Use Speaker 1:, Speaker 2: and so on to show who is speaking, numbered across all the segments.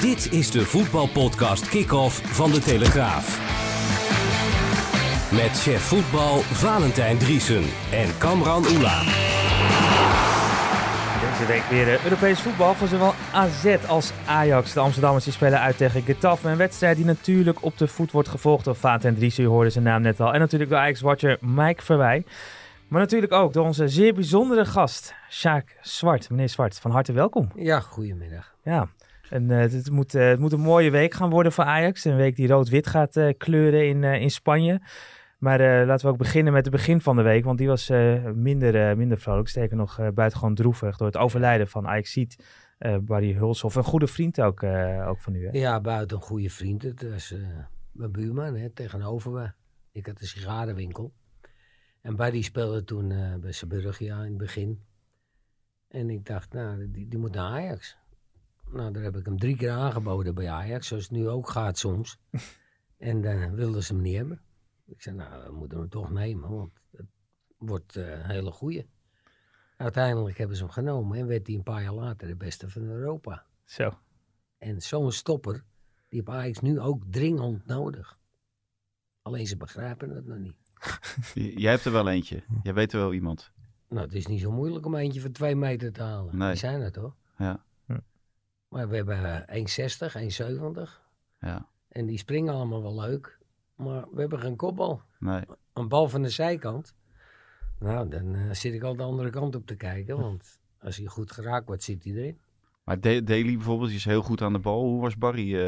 Speaker 1: Dit is de voetbalpodcast Kick-Off van De Telegraaf. Met chef voetbal Valentijn Driesen en Kamran Oela.
Speaker 2: Deze week weer eh, Europees voetbal voor zowel AZ als Ajax. De Amsterdammers die spelen uit tegen Getafe. Een wedstrijd die natuurlijk op de voet wordt gevolgd door Vaat en Dries. U hoorde zijn naam net al. En natuurlijk door Ajax-watcher Mike Verwij. Maar natuurlijk ook door onze zeer bijzondere gast, Sjaak Zwart. Meneer Zwart, van harte welkom.
Speaker 3: Ja, goedemiddag.
Speaker 2: Ja, en, eh, het, moet, eh, het moet een mooie week gaan worden voor Ajax. Een week die rood-wit gaat eh, kleuren in, eh, in Spanje. Maar eh, laten we ook beginnen met het begin van de week. Want die was eh, minder, eh, minder vrolijk. Sterker nog, eh, buitengewoon droevig. Door het overlijden van Ajax Ziet, Barry Hulshoff. Een goede vriend ook, eh, ook van u. Hè?
Speaker 3: Ja, buiten een goede vriend. Het was eh, mijn buurman hè, tegenover me. Ik had een sigarenwinkel. En Barry speelde toen eh, bij Saburgia in het begin. En ik dacht, nou, die, die moet naar Ajax. Nou, daar heb ik hem drie keer aangeboden bij Ajax, zoals het nu ook gaat soms. en dan wilden ze hem niet hebben. Ik zei, nou, we moeten hem toch nemen, want het wordt eh, een hele goeie. Uiteindelijk hebben ze hem genomen en werd hij een paar jaar later de beste van Europa.
Speaker 2: Zo.
Speaker 3: En zo'n stopper, die heeft Ajax nu ook dringend nodig. Alleen ze begrijpen het nog niet.
Speaker 4: J- Jij hebt er wel eentje. Jij weet er wel iemand.
Speaker 3: Nou, het is niet zo moeilijk om eentje van twee meter te halen.
Speaker 4: Nee.
Speaker 3: Die zijn het hoor.
Speaker 4: Ja,
Speaker 3: Maar we hebben eh, 1,60, 1,70.
Speaker 4: ja.
Speaker 3: En die springen allemaal wel leuk. Maar we hebben geen kopbal.
Speaker 4: Nee.
Speaker 3: Een bal van de zijkant. Nou, dan eh, zit ik al de andere kant op te kijken. Want als hij goed geraakt wordt, zit hij erin.
Speaker 4: Maar De- Daly bijvoorbeeld, die is heel goed aan de bal. Hoe was Barry? eh,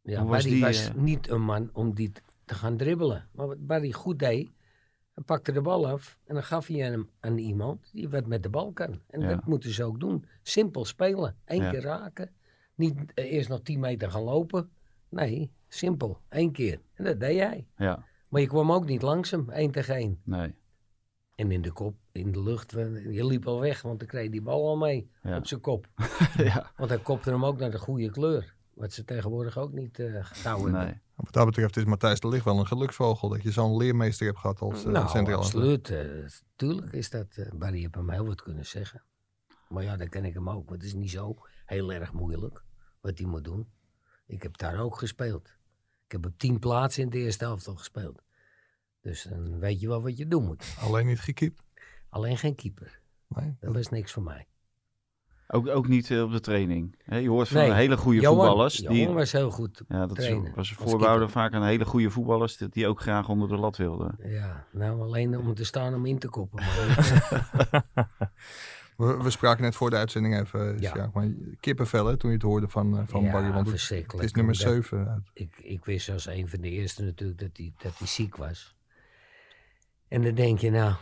Speaker 3: Ja,
Speaker 4: Hoe was
Speaker 3: Barry
Speaker 4: die,
Speaker 3: was
Speaker 4: eh?
Speaker 3: niet een man om die t- te gaan dribbelen. Maar wat Barry goed deed, hij pakte de bal af en dan gaf hij hem aan iemand die wat met de bal kan. En
Speaker 4: Ja.
Speaker 3: dat moeten ze ook doen. Simpel spelen. Eén
Speaker 4: Ja.
Speaker 3: keer raken. Niet eh, eerst nog 10 meter gaan lopen. Nee, simpel. Eén keer. En dat deed hij.
Speaker 4: Ja,
Speaker 3: Maar je kwam ook niet langs hem, één tegen één.
Speaker 4: nee.
Speaker 3: En in de kop, in de lucht, eh, je liep al weg, want dan kreeg die bal al mee
Speaker 4: Ja.
Speaker 3: op zijn kop.
Speaker 4: ja.
Speaker 3: Want hij kopte hem ook naar de goede kleur. Wat ze tegenwoordig ook niet eh gehouden hebben.
Speaker 4: Nee.
Speaker 5: Nou, Wat dat betreft is Matthijs de Ligt wel een geluksvogel dat je zo'n leermeester hebt gehad als eh,
Speaker 3: Nou,
Speaker 5: centraal.
Speaker 3: absoluut. eh, tuurlijk is dat... eh Barry heeft hem heel wat kunnen zeggen. Maar ja, dan ken ik hem ook. Want het is niet zo heel erg moeilijk wat hij moet doen. Ik heb daar ook gespeeld. Ik heb op tien plaatsen in de eerste helft al gespeeld. Dus dan weet je wel wat je doen moet.
Speaker 5: Alleen niet gekiept.
Speaker 3: Alleen geen keeper.
Speaker 5: Nee.
Speaker 3: Dat was niks voor mij.
Speaker 4: Ook, ook niet eh, op de training. Hè, je hoort van
Speaker 3: Nee.
Speaker 4: hele goede voetballers.
Speaker 3: Johan
Speaker 4: Die,
Speaker 3: was heel goed.
Speaker 4: ja, dat is-
Speaker 3: trainen
Speaker 4: was een
Speaker 3: als
Speaker 4: voorbouwer
Speaker 3: keeper.
Speaker 4: vaak aan hele goede voetballers die, die ook graag onder de lat wilden.
Speaker 3: Ja, nou alleen om te staan om in te koppen. Maar
Speaker 5: We, we spraken net voor de uitzending even,
Speaker 3: Ja.
Speaker 5: ja. maar kippenvel hè, toen je het hoorde van, eh, van
Speaker 3: ja,
Speaker 5: Barry. Want het,
Speaker 3: verschrikkelijk.
Speaker 5: het is nummer
Speaker 3: Hoe dat-
Speaker 5: 7 uit.
Speaker 3: ik, ik wist als een van de eerste natuurlijk dat hij dat hij ziek was. En dan denk je, nou,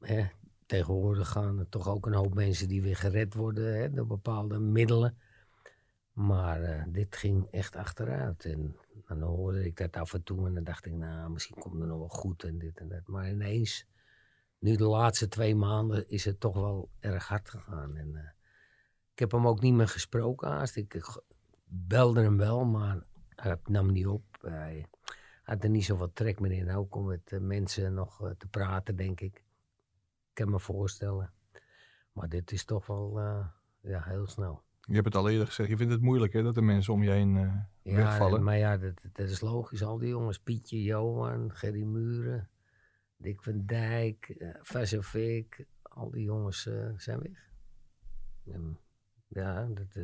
Speaker 3: hè, tegenwoordig gaan er toch ook een hoop mensen die weer gered worden hè, door bepaalde middelen. Maar eh, dit ging echt achteruit. En dan hoorde ik dat af en toe en dan dacht ik, nou, misschien komt er nog wel goed en dit en dat. Maar ineens, nu de laatste twee maanden, is het toch wel erg hard gegaan. En, eh, ik heb hem ook niet meer gesproken haast. Ik, ik belde hem wel, maar hij Nou, nam niet op. Hij had er niet zoveel trek meer in. Ook om met eh, mensen nog eh, te praten, denk ik. Ik kan me voorstellen. Maar dit is toch wel eh, ja, heel snel.
Speaker 5: Je hebt het al eerder gezegd, je vindt het moeilijk hè, dat de mensen om je heen eh,
Speaker 3: Ja,
Speaker 5: wegvallen.
Speaker 3: Maar ja, dat, dat is logisch. Al die jongens. Pietje, Johan, Gerry Muren, Dick van Dijk, eh Vazovic. Al die jongens eh, zijn weg. En, ja, dat eh,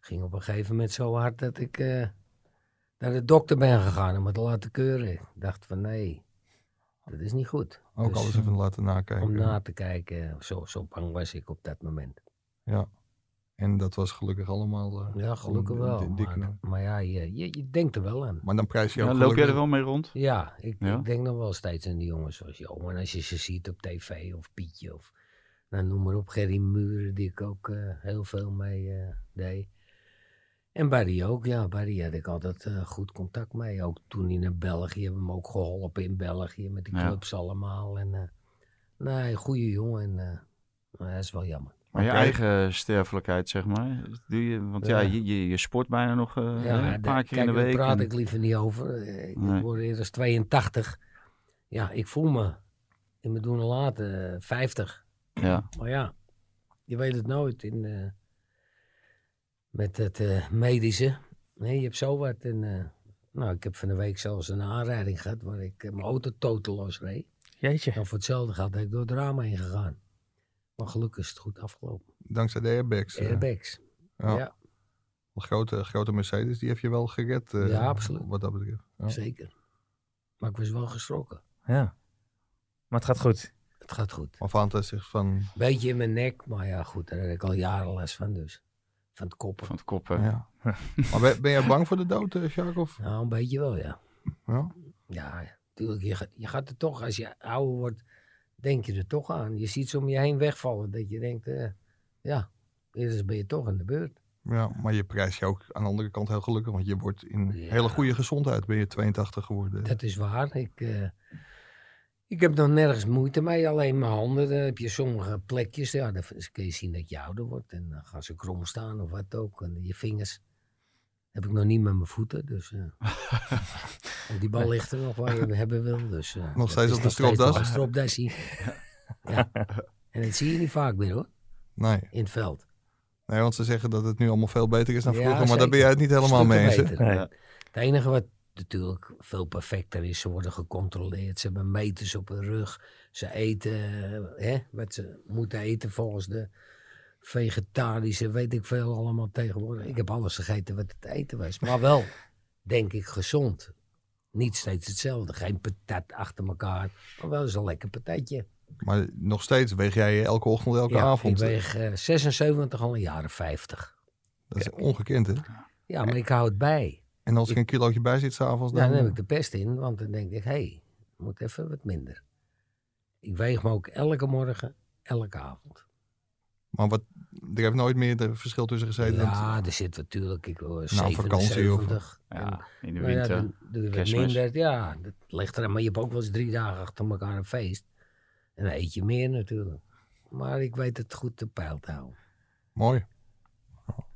Speaker 3: ging op een gegeven moment zo hard dat ik eh, naar de dokter ben gegaan om het te laten keuren. Ik dacht van nee, dat is niet goed.
Speaker 5: Ook
Speaker 3: Dus,
Speaker 5: alles even laten nakijken.
Speaker 3: Om na te kijken, zo, zo bang was ik op dat moment.
Speaker 5: En dat was gelukkig allemaal. eh,
Speaker 3: Ja, gelukkig
Speaker 5: een- een
Speaker 3: wel.
Speaker 5: dik- dik
Speaker 3: Maar,
Speaker 5: nou.
Speaker 3: maar ja, je, je, je denkt er wel aan.
Speaker 5: Maar dan prijs je
Speaker 4: Ja,
Speaker 5: ook
Speaker 4: loop jij er
Speaker 5: gelukkig-
Speaker 4: wel mee rond?
Speaker 3: Ja, ik,
Speaker 4: Ja?
Speaker 3: ik denk nog wel steeds aan die jongens zoals Johan. Als je ze ziet op tv of Pietje of Nou, noem maar op, Gerry Muren, die ik ook eh, heel veel mee eh, deed. En Barry ook, ja. Barry had ik altijd eh, goed contact mee. Ook toen hij naar België, hebben we hem ook geholpen in België met die
Speaker 4: Ja.
Speaker 3: clubs allemaal. En, eh, nee, goede jongen. En, eh, maar dat is wel jammer.
Speaker 4: Maar je
Speaker 5: Oké.
Speaker 4: eigen sterfelijkheid, zeg maar. Doe je, want ja,
Speaker 3: Ja.
Speaker 4: je, je, je sport bijna nog eh,
Speaker 3: Ja,
Speaker 4: een
Speaker 3: daar-
Speaker 4: paar keer
Speaker 3: kijk,
Speaker 4: in de week.
Speaker 3: Daar praat
Speaker 4: en-
Speaker 3: ik liever niet over. Eh, Ik
Speaker 4: Nee.
Speaker 3: word eerst 82. Ja, ik voel me in mijn doen en laten eh, 50.
Speaker 4: ja.
Speaker 3: Maar ja, je weet het nooit in, eh, met het eh, medische. Nee, je hebt zo wat. En, eh, nou, ik heb van de week zelfs een aanrijding gehad waar ik eh, mijn auto totaal losreed.
Speaker 2: Jeetje.
Speaker 3: En voor hetzelfde geld ben ik door het raam heen gegaan. Maar gelukkig is het goed afgelopen.
Speaker 5: Dankzij de airbags. eh.
Speaker 3: Airbags.
Speaker 5: Ja.
Speaker 3: ja.
Speaker 5: De grote, grote Mercedes, die heb je wel gered. eh,
Speaker 3: Ja, absoluut.
Speaker 5: Wat dat betreft. Ja.
Speaker 3: zeker. Maar ik was wel geschrokken.
Speaker 2: Ja. Maar het gaat goed.
Speaker 3: Het gaat goed.
Speaker 5: Maar Fanta zegt van,
Speaker 3: Beetje in mijn nek, maar ja, goed, daar heb ik al jaren les van, dus. Van het koppen.
Speaker 4: Van het koppen.
Speaker 5: ja. maar ben, ben jij bang voor de dood, eh, Sjaak? Of?
Speaker 3: Nou, een beetje wel, ja.
Speaker 5: Ja.
Speaker 3: Ja, tuurlijk, je, gaat- je gaat er toch, als je ouder wordt, denk je er toch aan. Je ziet ze om je heen wegvallen, dat je denkt, eh, ja, eerst ben je toch aan de beurt.
Speaker 5: ja, maar je prijst je ook aan de andere kant heel gelukkig. Want je wordt in
Speaker 3: Ja.
Speaker 5: hele goede gezondheid, ben je 82 geworden.
Speaker 3: Dat is waar. Ik, eh, ik heb nog nergens moeite mee, alleen mijn handen. Dan heb je sommige plekjes, ja, dan kun je zien dat je ouder wordt. En dan gaan ze krom staan of wat ook. En je vingers heb ik nog niet met mijn voeten, dus... eh. en die bal ligt er nog waar je hem hebben wil, dus... eh, dat
Speaker 5: steeds
Speaker 3: is
Speaker 5: op de
Speaker 3: nog steeds
Speaker 5: stropdas?
Speaker 3: nog een stropdasje. ja. En dat zie je niet vaak meer, hoor,
Speaker 5: Nee.
Speaker 3: in het veld.
Speaker 5: nee, want ze zeggen dat het nu allemaal veel beter is dan
Speaker 3: Ja,
Speaker 5: vroeger. maar daar
Speaker 3: zeker.
Speaker 5: ben jij het niet helemaal mee eens. hè?
Speaker 3: Stukken beter.
Speaker 2: Nee.
Speaker 4: Ja.
Speaker 3: Het enige wat natuurlijk veel perfecter is, ze worden gecontroleerd, ze hebben meters op hun rug, ze eten eh, hè, wat ze moeten eten volgens de vegetarische, weet ik veel allemaal tegenwoordig. Ik heb alles gegeten wat het eten was, maar wel, denk ik, gezond. Niet steeds hetzelfde, geen patat achter elkaar, maar wel eens een lekker patatje.
Speaker 5: Maar nog steeds weeg jij elke ochtend, elke
Speaker 3: ja,
Speaker 5: avond.
Speaker 3: Ik weeg eh, 76 al een jaren 50.
Speaker 5: Dat is ongekend, hè?
Speaker 3: Ja, maar ik hou het bij.
Speaker 5: En als er een kilootje bij zit s'avonds,
Speaker 3: Ja,
Speaker 5: dan...
Speaker 3: dan Nou, heb ik de pest in, want dan denk ik, hé, hey, moet even wat minder. Ik weeg me ook elke morgen, elke avond.
Speaker 5: Maar wat, er heeft nooit meer de verschil tussen gezeten. want-
Speaker 3: Ja, er zit natuurlijk, ik hoor
Speaker 5: Nou, vakantie of-
Speaker 3: 77. En-
Speaker 4: Ja, in de
Speaker 3: nou ja,
Speaker 4: winter.
Speaker 3: dan doe je wat
Speaker 4: kerstmis.
Speaker 3: minder. Ja, dat ligt eraan. Maar je hebt ook wel eens drie dagen achter elkaar een feest. En dan eet je meer natuurlijk. Maar ik weet het goed te pijl te houden.
Speaker 5: Mooi.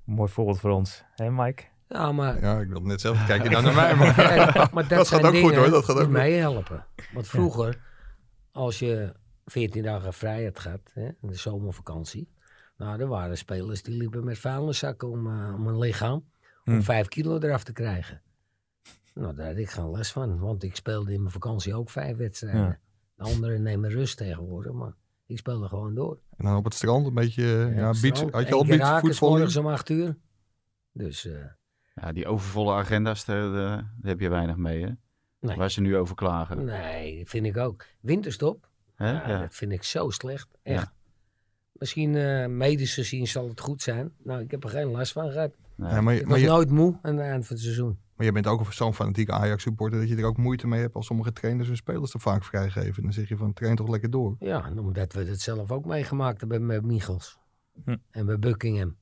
Speaker 2: Mooi voorbeeld voor ons. Hé Mike?
Speaker 3: Ja, maar
Speaker 5: Ja, ik wil net zelf kijken dan naar mij. Maar,
Speaker 3: Kijk, maar dat,
Speaker 5: gaat
Speaker 3: zijn
Speaker 5: ook goed,
Speaker 3: dingen
Speaker 5: hoor. Dat gaat ook
Speaker 3: die
Speaker 5: goed.
Speaker 3: mij helpen. Want vroeger, als je 14 dagen vrijheid gaat, hè, in de zomervakantie. Nou, er waren spelers die liepen met vuilniszakken om, eh, om hun lichaam. om
Speaker 5: Hm.
Speaker 2: Hmm.
Speaker 3: vijf kilo eraf te krijgen. Nou, daar had ik geen les van. Want ik speelde in mijn vakantie ook vijf wedstrijden.
Speaker 2: Ja.
Speaker 3: De anderen nemen rust tegenwoordig, maar ik speelde gewoon door.
Speaker 5: En dan op het strand een beetje... eh, Ja,
Speaker 3: Op het
Speaker 5: beach,
Speaker 3: strand,
Speaker 5: had je
Speaker 3: één
Speaker 5: al
Speaker 3: keer
Speaker 5: beach
Speaker 3: raken, 's
Speaker 5: voetbal?
Speaker 3: morgens om acht uur. Dus, eh,
Speaker 4: Ja, die overvolle agenda's, daar, eh, daar heb je weinig mee, hè?
Speaker 3: Nee.
Speaker 4: Waar ze nu over klagen.
Speaker 3: nee, vind ik ook. Winterstop.
Speaker 4: Hè?
Speaker 3: Ja,
Speaker 4: Ja.
Speaker 3: Dat vind ik zo slecht.
Speaker 4: Ja.
Speaker 3: Echt. Misschien eh medisch gezien zal het goed zijn. Nou, ik heb er geen last van gehad.
Speaker 4: Nee.
Speaker 5: Ja, maar, je-
Speaker 3: Ik
Speaker 5: maar,
Speaker 3: was
Speaker 5: je,
Speaker 3: nooit moe aan het eind van het seizoen.
Speaker 5: maar je bent ook zo'n fanatieke Ajax-supporter... dat je er ook moeite mee hebt als sommige trainers hun spelers te vaak vrijgeven. En dan zeg je van, train toch lekker door.
Speaker 3: Ja, en omdat we het zelf ook meegemaakt hebben met Michels.
Speaker 2: Hm.
Speaker 3: En bij Buckingham.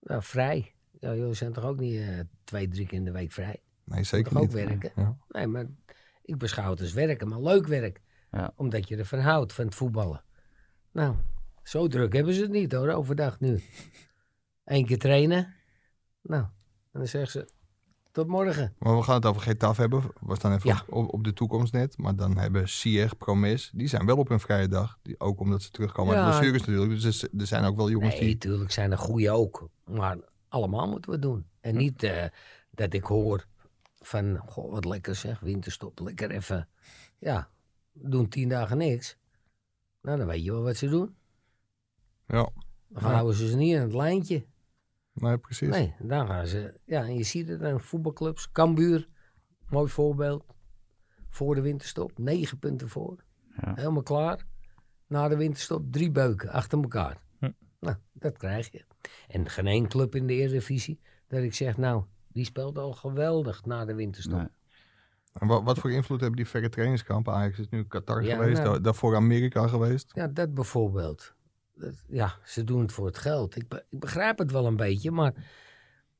Speaker 3: Nou, vrij. Ja, jullie zijn toch ook niet eh, twee, drie keer in de week vrij?
Speaker 5: Nee, zeker
Speaker 3: Moet
Speaker 5: niet.
Speaker 3: toch ook werken?
Speaker 5: Ja.
Speaker 3: Nee, maar ik beschouw het als werken, maar leuk werk.
Speaker 4: Ja.
Speaker 3: Omdat je ervan houdt, van het voetballen. Nou, zo druk hebben ze het niet hoor, overdag nu. Eén keer trainen. Nou, en dan zeggen ze, tot morgen.
Speaker 5: Maar we gaan het over GTAF hebben. We staan even
Speaker 3: Ja.
Speaker 5: op, op de toekomst net. Maar dan hebben Sier, Promes, die zijn wel op hun vrije dag. Die, ook omdat ze terugkomen
Speaker 3: Ja.
Speaker 5: uit blessures natuurlijk. Dus er z- er zijn ook wel jongens
Speaker 3: Nee,
Speaker 5: die...
Speaker 3: natuurlijk zijn er goeie ook. Maar allemaal moeten we het doen. En niet eh, dat ik hoor van, goh, wat lekker zeg, winterstop, lekker even. Ja, doen tien dagen niks. Nou, dan weet je wel wat ze doen.
Speaker 5: Ja,
Speaker 3: Dan
Speaker 5: Ja.
Speaker 3: houden ze ze niet in het lijntje.
Speaker 5: nee, precies.
Speaker 3: Nee, daar gaan ze. Ja, en je ziet het aan voetbalclubs. Cambuur, mooi voorbeeld. Voor de winterstop, negen punten voor.
Speaker 4: Ja.
Speaker 3: Helemaal klaar. Na de winterstop, drie beuken achter elkaar.
Speaker 2: Hm.
Speaker 3: Nou, dat krijg je. En geen één club in de Eredivisie dat ik zeg, nou, die speelt al geweldig na de winterstop.
Speaker 4: Nee.
Speaker 5: En wa- wat, voor invloed hebben die verre trainingskampen? Ajax is nu Qatar
Speaker 3: Ja,
Speaker 5: geweest,
Speaker 3: nou-
Speaker 5: da- daarvoor Amerika geweest.
Speaker 3: Ja, dat bijvoorbeeld. dat- ja, ze doen het voor het geld. Ik, be- ik begrijp het wel een beetje, maar